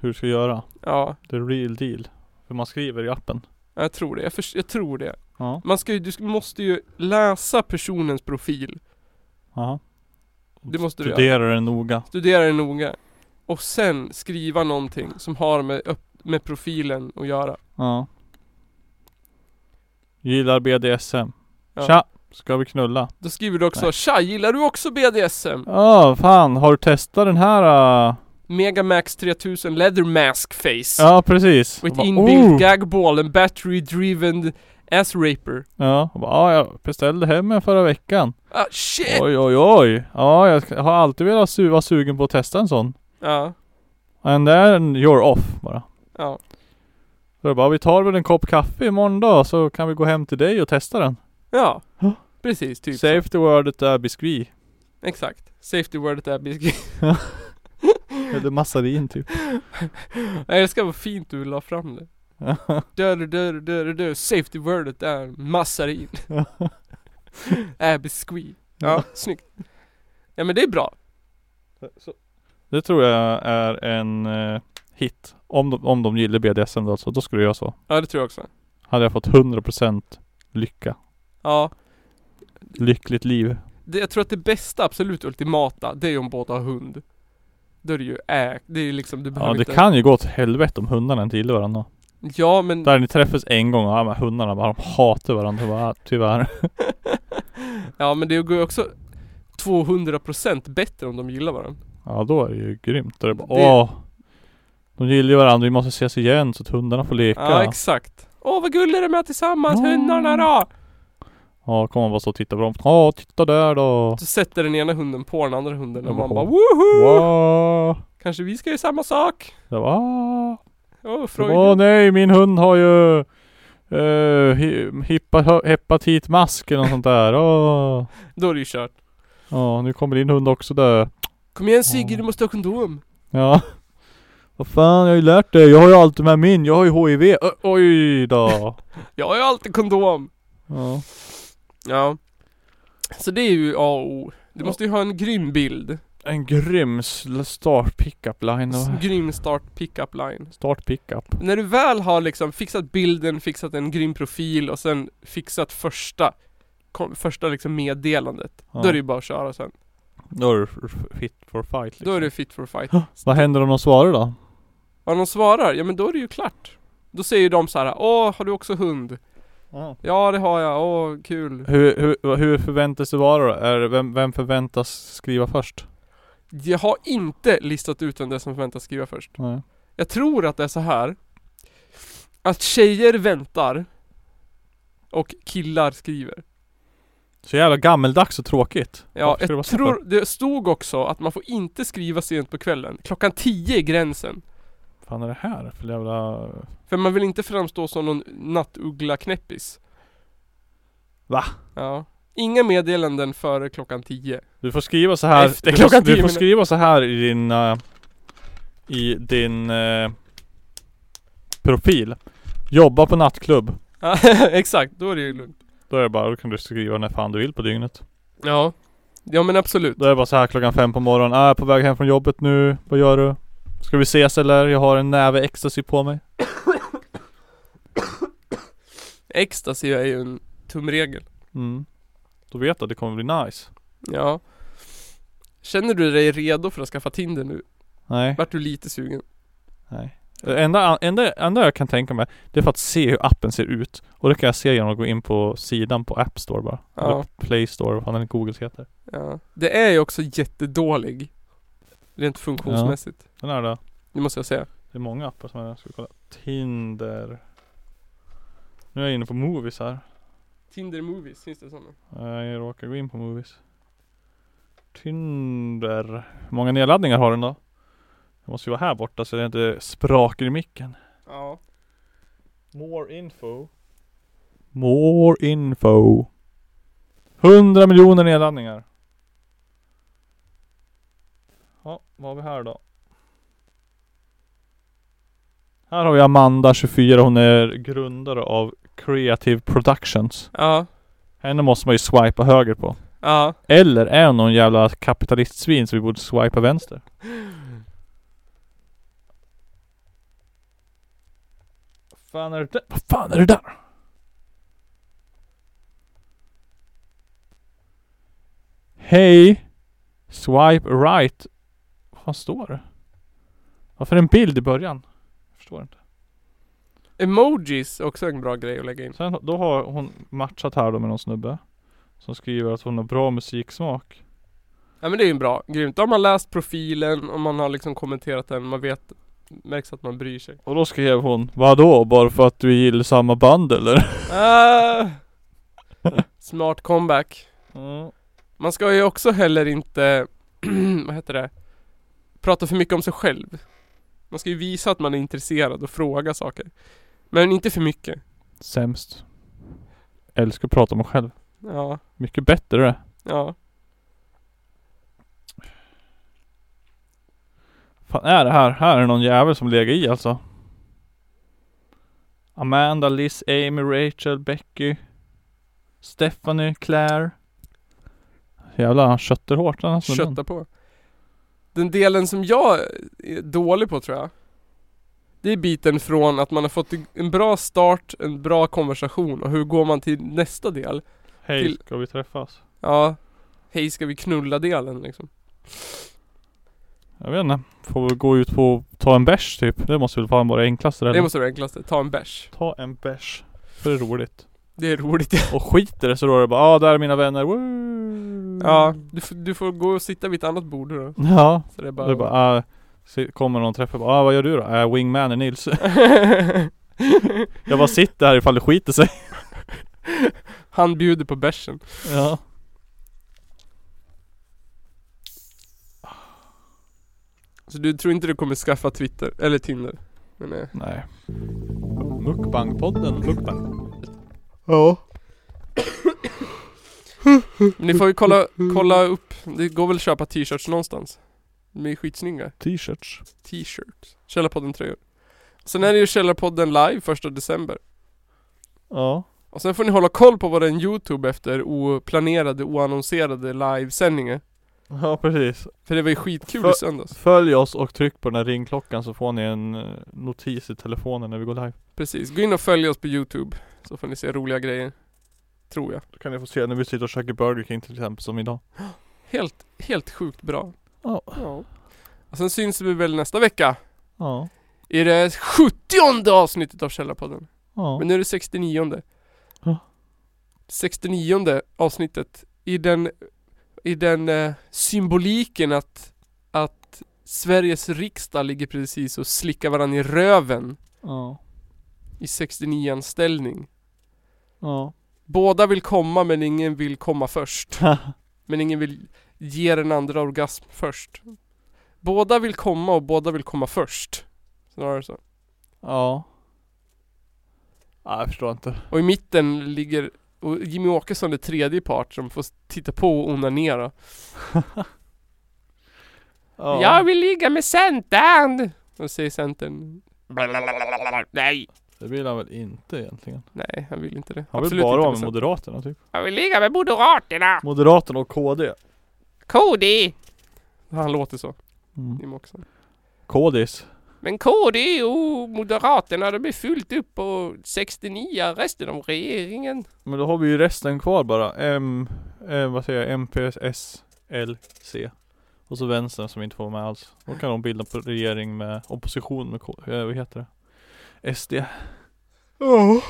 [SPEAKER 1] Hur du ska göra.
[SPEAKER 2] Ja,
[SPEAKER 1] The real deal. För man skriver i appen.
[SPEAKER 2] jag tror det. Jag, förs- jag tror det.
[SPEAKER 1] Ja.
[SPEAKER 2] Man ska ju, du ska, måste ju läsa personens profil.
[SPEAKER 1] Aha.
[SPEAKER 2] Det måste du göra.
[SPEAKER 1] Studerar den noga.
[SPEAKER 2] Studera den noga. Och sen skriva någonting som har med öpp- med profilen att göra.
[SPEAKER 1] Ja. Gillar BDSM.
[SPEAKER 2] Ja.
[SPEAKER 1] Tja! Ska vi knulla?
[SPEAKER 2] Då skriver du också
[SPEAKER 1] Nej.
[SPEAKER 2] Tja, gillar du också BDSM?
[SPEAKER 1] Ja, fan. Har du testat den här? äh?
[SPEAKER 2] Megamax 3000 Leather Mask Face.
[SPEAKER 1] Ja, precis.
[SPEAKER 2] With
[SPEAKER 1] Bara,
[SPEAKER 2] inbuilt
[SPEAKER 1] "Oh!"
[SPEAKER 2] gagball and battery driven ass raper.
[SPEAKER 1] "Oh!" Ja, jag bara, ja, jag beställde hem en förra veckan.
[SPEAKER 2] Ah shit!
[SPEAKER 1] Oj, oj, oj. Ja, jag ska- har alltid velat su- vara sugen på att testa en sån.
[SPEAKER 2] Ja,
[SPEAKER 1] And then you're off bara.
[SPEAKER 2] ja.
[SPEAKER 1] Så jag bara, vi tar väl en kopp kaffe imorgon då så kan vi gå hem till dig och testa den.
[SPEAKER 2] Ja.
[SPEAKER 1] Ja.
[SPEAKER 2] Precis, typ så.
[SPEAKER 1] Safety wordet är biscuit.
[SPEAKER 2] Exakt. Safety wordet är biscuit.
[SPEAKER 1] Eller
[SPEAKER 2] Mm.
[SPEAKER 1] massarin typ.
[SPEAKER 2] Jag älskar vad fint du la fram det. Dör, dör, dör, dör. Safety wordet är massarin. är biscuit. Ja, snyggt. Ja men det är bra.
[SPEAKER 1] Det tror jag är en eh, hit. Om de, om de gillar BDSM då alltså, då skulle jag göra så.
[SPEAKER 2] Ja det tror jag också.
[SPEAKER 1] Hade jag fått 100% lycka.
[SPEAKER 2] Ja.
[SPEAKER 1] Lyckligt liv.
[SPEAKER 2] Det, jag tror att det bästa, absolut ultimata, det är ju om båda har hund. Då är det ju ägt, det är ju liksom, du
[SPEAKER 1] Ja
[SPEAKER 2] behöver
[SPEAKER 1] det
[SPEAKER 2] inte...
[SPEAKER 1] kan ju gå åt helvete om hundarna inte gillar varandra.
[SPEAKER 2] Ja men,
[SPEAKER 1] Där ni träffas en gång och ja, men hundarna bara, de hatar varandra bara, "Ah, tyvärr.
[SPEAKER 2] ja men det går ju också 200% bättre om de gillar varandra.
[SPEAKER 1] Ja då är det ju grymt. Då är det bara,
[SPEAKER 2] Det-
[SPEAKER 1] åh. De gillar ju varandra, vi måste ses igen så att hundarna får leka.
[SPEAKER 2] Ja exakt. Åh vad gulliga de är tillsammans,
[SPEAKER 1] Ja.
[SPEAKER 2] hundarna då!
[SPEAKER 1] Ja, kommer man bara stå och titta på dem. Ja, titta där då.
[SPEAKER 2] Så sätter den ena hunden på den andra hunden och
[SPEAKER 1] Ja,
[SPEAKER 2] man
[SPEAKER 1] vad-
[SPEAKER 2] bara woho!
[SPEAKER 1] Wow.
[SPEAKER 2] Kanske vi ska göra samma sak?
[SPEAKER 1] Jag bara, "Ah."
[SPEAKER 2] Åh
[SPEAKER 1] Jag bara, Åh
[SPEAKER 2] Freud.
[SPEAKER 1] nej, min hund har ju eh, hi- hippa- hepatitmask eller något sånt där. Åh.
[SPEAKER 2] Då är det ju kört.
[SPEAKER 1] Ja, nu kommer din hund också dö.
[SPEAKER 2] Kom igen Sigge,
[SPEAKER 1] Ja.
[SPEAKER 2] du måste ha kondom.
[SPEAKER 1] Ja. Vad fan, jag har ju lärt dig. Jag har ju alltid med min. Jag har ju HIV. Ö, oj då.
[SPEAKER 2] Jag har ju alltid kondom.
[SPEAKER 1] Ja.
[SPEAKER 2] Ja. Så det är ju A och O. Du
[SPEAKER 1] Ja.
[SPEAKER 2] måste ju ha en grym bild.
[SPEAKER 1] En grym sl- start pickup line.
[SPEAKER 2] S- Grym start pickup line.
[SPEAKER 1] Start pickup.
[SPEAKER 2] När du väl har liksom fixat bilden, fixat en grym profil och sen fixat första kom, första liksom meddelandet.
[SPEAKER 1] Ja.
[SPEAKER 2] Då är det ju bara att köra sen.
[SPEAKER 1] Då är du f- fit for fight liksom.
[SPEAKER 2] Då är det fit for fight.
[SPEAKER 1] Vad händer om de svarar då?
[SPEAKER 2] Om de svarar, ja men då är det ju klart. Då säger de så här, åh har du också hund? Ja det har jag, åh kul.
[SPEAKER 1] Hur, hur, hur förväntas det vara då? Är, det- vem, vem förväntas skriva först?
[SPEAKER 2] Jag har inte listat ut vem det är som förväntas skriva först.
[SPEAKER 1] Nej.
[SPEAKER 2] Jag tror att det är så här Att tjejer väntar Och killar skriver
[SPEAKER 1] Så jävla gammeldags och tråkigt.
[SPEAKER 2] Ja,
[SPEAKER 1] Varför ska det vara
[SPEAKER 2] jag
[SPEAKER 1] så för?
[SPEAKER 2] tror, det stod också att man får inte skriva sent på kvällen Klockan 10 är gränsen
[SPEAKER 1] Vad fan är det här för jävla...
[SPEAKER 2] För man vill inte framstå som någon nattuggla knäppis
[SPEAKER 1] Va?
[SPEAKER 2] Ja Inga meddelanden före klockan 10
[SPEAKER 1] Du får skriva så här.
[SPEAKER 2] Efter
[SPEAKER 1] du,
[SPEAKER 2] klockan
[SPEAKER 1] får, du
[SPEAKER 2] tio
[SPEAKER 1] får
[SPEAKER 2] minuter.
[SPEAKER 1] skriva så här i din... eh, I din... eh, profil. Jobba på nattklubb.
[SPEAKER 2] Ja, Exakt, då är det ju lugnt
[SPEAKER 1] Då är det bara, då kan du skriva när fan du vill på dygnet.
[SPEAKER 2] Ja Ja men absolut
[SPEAKER 1] Då är det bara så här klockan fem på morgonen. Ah, jag är på väg hem från jobbet nu. Vad gör du? Ska vi ses eller? Jag har en näve ecstasy på mig.
[SPEAKER 2] Ecstasy är ju en tumregel
[SPEAKER 1] Mm. Då vet du att det kommer bli nice.
[SPEAKER 2] Ja Känner du dig redo för att skaffa Tinder nu?
[SPEAKER 1] Nej.
[SPEAKER 2] Vart du lite sugen?
[SPEAKER 1] Nej. Det enda, enda, enda jag kan tänka mig, det är för att se hur appen ser ut. Och det kan jag se genom att gå in på sidan på App Store bara.
[SPEAKER 2] Ja.
[SPEAKER 1] Eller Play Store, vad fan den Googles heter.
[SPEAKER 2] Ja. Det är ju också jättedålig. Rent funktionsmässigt.
[SPEAKER 1] Den här då?
[SPEAKER 2] Det måste jag säga.
[SPEAKER 1] Det är många appar som jag ska kolla. Tinder. Nu är jag inne på Movies här.
[SPEAKER 2] Tinder Movies, finns det sådana?
[SPEAKER 1] Eh, Jag råkar gå in på Movies. Tinder. Hur många nedladdningar har den då? Det måste ju vara här borta så det inte sprakar i micken.
[SPEAKER 2] Ja.
[SPEAKER 1] More info. More info. 100 miljoner nedladdningar. Ja, vad har vi här då? Här har vi Amanda 24, hon är grundare av Creative Productions.
[SPEAKER 2] Ja.
[SPEAKER 1] Henne måste man ju swipa höger på.
[SPEAKER 2] Ja.
[SPEAKER 1] Eller är hon någon jävla kapitalistsvin så vi borde swipa vänster? Vad fan är det där? Vad fan är det där? Hej! Swipe right. Vad fan står det? Varför en bild i början? Jag förstår inte.
[SPEAKER 2] Emojis, är också en bra grej att lägga in.
[SPEAKER 1] Sen då har hon matchat här då med någon snubbe Som skriver att hon har bra musiksmak
[SPEAKER 2] Ja men det är ju en bra, grymt. Då har man läst profilen, och man har liksom kommenterat den, man vet, märks att man bryr sig.
[SPEAKER 1] Och då skrev hon Vadå? Bara för att du gillar samma band eller?
[SPEAKER 2] Ah! Smart comeback.
[SPEAKER 1] Mm.
[SPEAKER 2] Man ska ju också heller inte, vad heter det, prata för mycket om sig själv. Man ska ju visa att man är intresserad och fråga saker. Men inte för mycket.
[SPEAKER 1] Sämst Älskar att prata om mig själv
[SPEAKER 2] Ja,
[SPEAKER 1] Mycket bättre
[SPEAKER 2] ja.
[SPEAKER 1] Fan är det här? Här är någon jävel som lägger i alltså Amanda, Liz, Amy, Rachel, Becky Stephanie, Claire Jävlar han köttar hårt Alltså, den här snubben.
[SPEAKER 2] Kötta på. Den delen som jag är dålig på tror jag. Det är biten från att man har fått en bra start, en bra konversation och hur går man till nästa del?
[SPEAKER 1] Hej,
[SPEAKER 2] till-
[SPEAKER 1] ska vi träffas?
[SPEAKER 2] Ja, hej ska vi knulla delen liksom.
[SPEAKER 1] Jag vet inte. Får vi gå ut på ta en bärs typ? Det måste väl fan vara det enklaste eller?
[SPEAKER 2] Det måste vara det enklaste, ta en bärs.
[SPEAKER 1] Ta en bärs. För det är roligt.
[SPEAKER 2] Det är roligt.
[SPEAKER 1] Och skiter det så då är det bara ah, där är mina vänner. Woo!
[SPEAKER 2] Ja, du, f- du får gå och sitta vid ett annat bord då.
[SPEAKER 1] Ja.
[SPEAKER 2] Så det är
[SPEAKER 1] Det
[SPEAKER 2] bara...
[SPEAKER 1] är bara ah, se- kommer någon träffa bara ah, vad gör du då? Äh, wingman är Nils. Jag bara sitter här ifall det skiter sig.
[SPEAKER 2] Han bjuder på bärsen.
[SPEAKER 1] Ja.
[SPEAKER 2] Så du tror inte du kommer skaffa Twitter, eller Tinder? Men, eh,
[SPEAKER 1] Nej. Mukbangpodden. Mukbang.
[SPEAKER 2] Ja. Ni får ju kolla, kolla upp, det går väl att köpa t-shirts någonstans. De är skitsnygga.
[SPEAKER 1] T-shirts.
[SPEAKER 2] T-shirts. Källarpodden-tröjor. Sen är det ju Källarpodden live första december.
[SPEAKER 1] Ja.
[SPEAKER 2] Och sen får ni hålla koll på våran YouTube efter oplanerade, oannonserade livesändningar.
[SPEAKER 1] Ja precis.
[SPEAKER 2] För det var ju skitkul
[SPEAKER 1] För-
[SPEAKER 2] i söndags.
[SPEAKER 1] Följ oss och tryck på den här ringklockan så får ni en eh, notis i telefonen när vi går live.
[SPEAKER 2] Precis, gå in och följ oss på YouTube. Så får ni se roliga grejer. Tror jag.
[SPEAKER 1] Då kan ni få se när vi sitter och käkar Burger King till exempel som idag.
[SPEAKER 2] Helt, helt sjukt bra.
[SPEAKER 1] Ja.
[SPEAKER 2] Ja. Och sen syns vi väl nästa vecka.
[SPEAKER 1] Ja.
[SPEAKER 2] I det 70 avsnittet av Källarpodden.
[SPEAKER 1] Ja.
[SPEAKER 2] Men nu är det 69
[SPEAKER 1] Ja.
[SPEAKER 2] 69 avsnittet. I den, i den eh, symboliken att, att Sveriges riksdag ligger precis och slickar varandra i röven
[SPEAKER 1] ja.
[SPEAKER 2] i 69 ställning.
[SPEAKER 1] Ja.
[SPEAKER 2] Båda vill komma men ingen vill komma först. Men ingen vill ge den andra orgasm först. Båda vill komma och båda vill komma först. Snarare så.
[SPEAKER 1] ja. Nej, jag förstår inte.
[SPEAKER 2] Och i mitten ligger och Jimmy Åkesson är tredje part som får titta på och onanera.
[SPEAKER 1] Ja.
[SPEAKER 2] Jag vill ligga med Centern! Och säger Centern. "Blablabla, Nej!
[SPEAKER 1] Det vill han väl inte egentligen.
[SPEAKER 2] Nej, han vill inte det.
[SPEAKER 1] Han vill
[SPEAKER 2] Absolut
[SPEAKER 1] bara
[SPEAKER 2] inte
[SPEAKER 1] vara
[SPEAKER 2] med
[SPEAKER 1] med
[SPEAKER 2] Centern.
[SPEAKER 1] Moderaterna typ.
[SPEAKER 2] Jag vill ligga med Moderaterna!
[SPEAKER 1] Moderaterna och KD.
[SPEAKER 2] KD! Han låter så,
[SPEAKER 1] Mm.
[SPEAKER 2] Jimmy Åkesson.
[SPEAKER 1] KDs.
[SPEAKER 2] Men KD och Moderaterna, de är fullt upp på 69 resten av regeringen.
[SPEAKER 1] Men då har vi ju resten kvar bara. M, eh, vad säger jag? MP, S, L, C. Och så vänstern som inte får vara med alls. Då kan de bilda på regering med opposition med K, eh, vad heter det? SD.
[SPEAKER 2] Ja.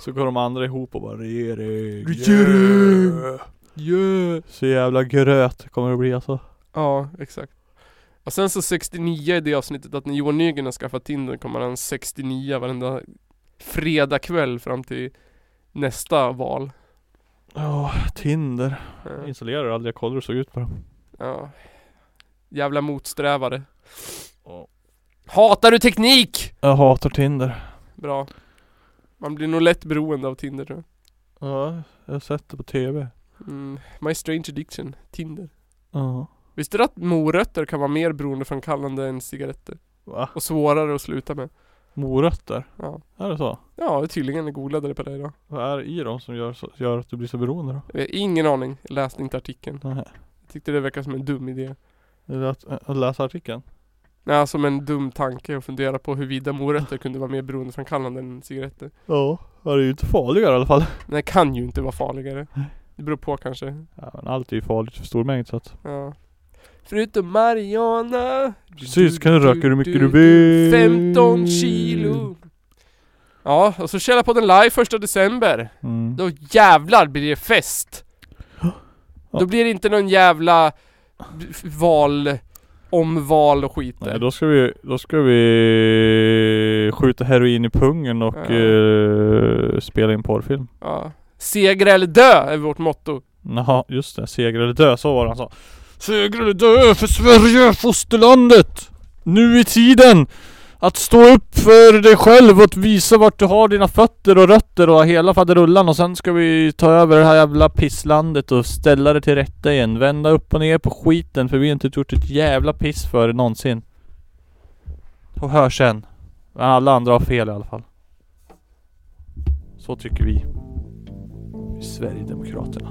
[SPEAKER 1] Så går de andra ihop och bara regering.
[SPEAKER 2] Regering.
[SPEAKER 1] Yeah. Så jävla gröt kommer det bli alltså.
[SPEAKER 2] Ja, exakt. Och sen så 69 i det avsnittet att när Johan Nygren har skaffat Tinder kommer han 69 varenda fredag kväll fram till nästa val.
[SPEAKER 1] Ja, Tinder. Jag
[SPEAKER 2] Ja.
[SPEAKER 1] installerar aldrig, jag kollar hur det såg ut på den.
[SPEAKER 2] Ja. Jävla motsträvare.
[SPEAKER 1] Ja.
[SPEAKER 2] Hatar du teknik?
[SPEAKER 1] Jag hatar Tinder.
[SPEAKER 2] Bra. Man blir nog lätt beroende av Tinder tror jag.
[SPEAKER 1] Ja, jag har sett det på TV.
[SPEAKER 2] Mm. My strange addiction, Tinder.
[SPEAKER 1] Ja.
[SPEAKER 2] Visste du att morötter kan vara mer beroendeframkallande än cigaretter?
[SPEAKER 1] Va?
[SPEAKER 2] Och svårare att sluta med?
[SPEAKER 1] Morötter?
[SPEAKER 2] Ja.
[SPEAKER 1] Är det så?
[SPEAKER 2] Ja, tydligen googlade det på det idag.
[SPEAKER 1] Vad är det i dem som gör, så, gör att du blir så beroende då?
[SPEAKER 2] Jag har Eh, Ingen aning, Jag läste inte artikeln.
[SPEAKER 1] Nej.
[SPEAKER 2] Jag tyckte det verkar som en dum idé.
[SPEAKER 1] Är det att, eh, att läsa artikeln?
[SPEAKER 2] Nej, alltså, som en dum tanke att fundera på huruvida morötter kunde vara mer beroendeframkallande än cigaretter.
[SPEAKER 1] Ja. Ja, det är ju inte farligare i alla fall.
[SPEAKER 2] Men det kan ju inte vara farligare. Det beror på kanske.
[SPEAKER 1] Ja, men allt är ju farligt för stor mängd så att.
[SPEAKER 2] Ja. Förutom marijuana.
[SPEAKER 1] Precis, kan du röka hur mycket du vill.
[SPEAKER 2] 15 kilo. Ja, och så Källarpodden live första december.
[SPEAKER 1] Mm.
[SPEAKER 2] Då jävlar blir det fest! Då blir det inte någon jävla f- val, omval och skit
[SPEAKER 1] Nej,
[SPEAKER 2] där.
[SPEAKER 1] då ska vi, då ska vi skjuta heroin i pungen och
[SPEAKER 2] Ja.
[SPEAKER 1] eh, spela in porrfilm.
[SPEAKER 2] ja. Seger eller dö är vårt motto.
[SPEAKER 1] Jaha, just det. Seger eller dö, så var det han sa. Seger eller dö för Sverige, fosterlandet! Nu i tiden! Att stå upp för dig själv och att visa vart du har dina fötter och rötter och hela faderullan och sen ska vi ta över det här jävla pisslandet och ställa det till rätta igen. Vända upp och ner på skiten för vi har inte gjort ett jävla piss för det någonsin. Och hör sen. Men alla andra har fel i alla fall. Så tycker vi. Vi Sverigedemokraterna.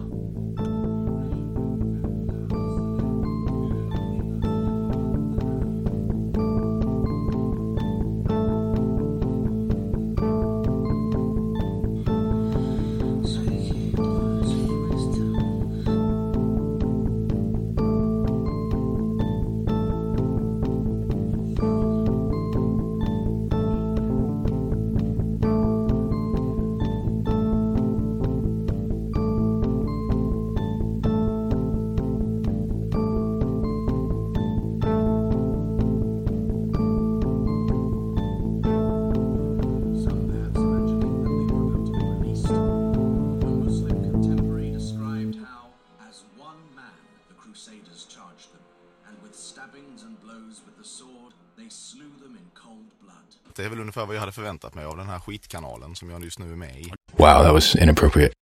[SPEAKER 3] Some maps mentioning that they were about to be released. A Muslim contemporary described how, as one man, the Crusaders charged them, and with stabbings and blows with the sword, they slew them in cold blood.
[SPEAKER 4] Det är väl ungefär vad jag hade förväntat mig av den här skitkanalen som jag just nu är med i.
[SPEAKER 5] Wow, that was inappropriate.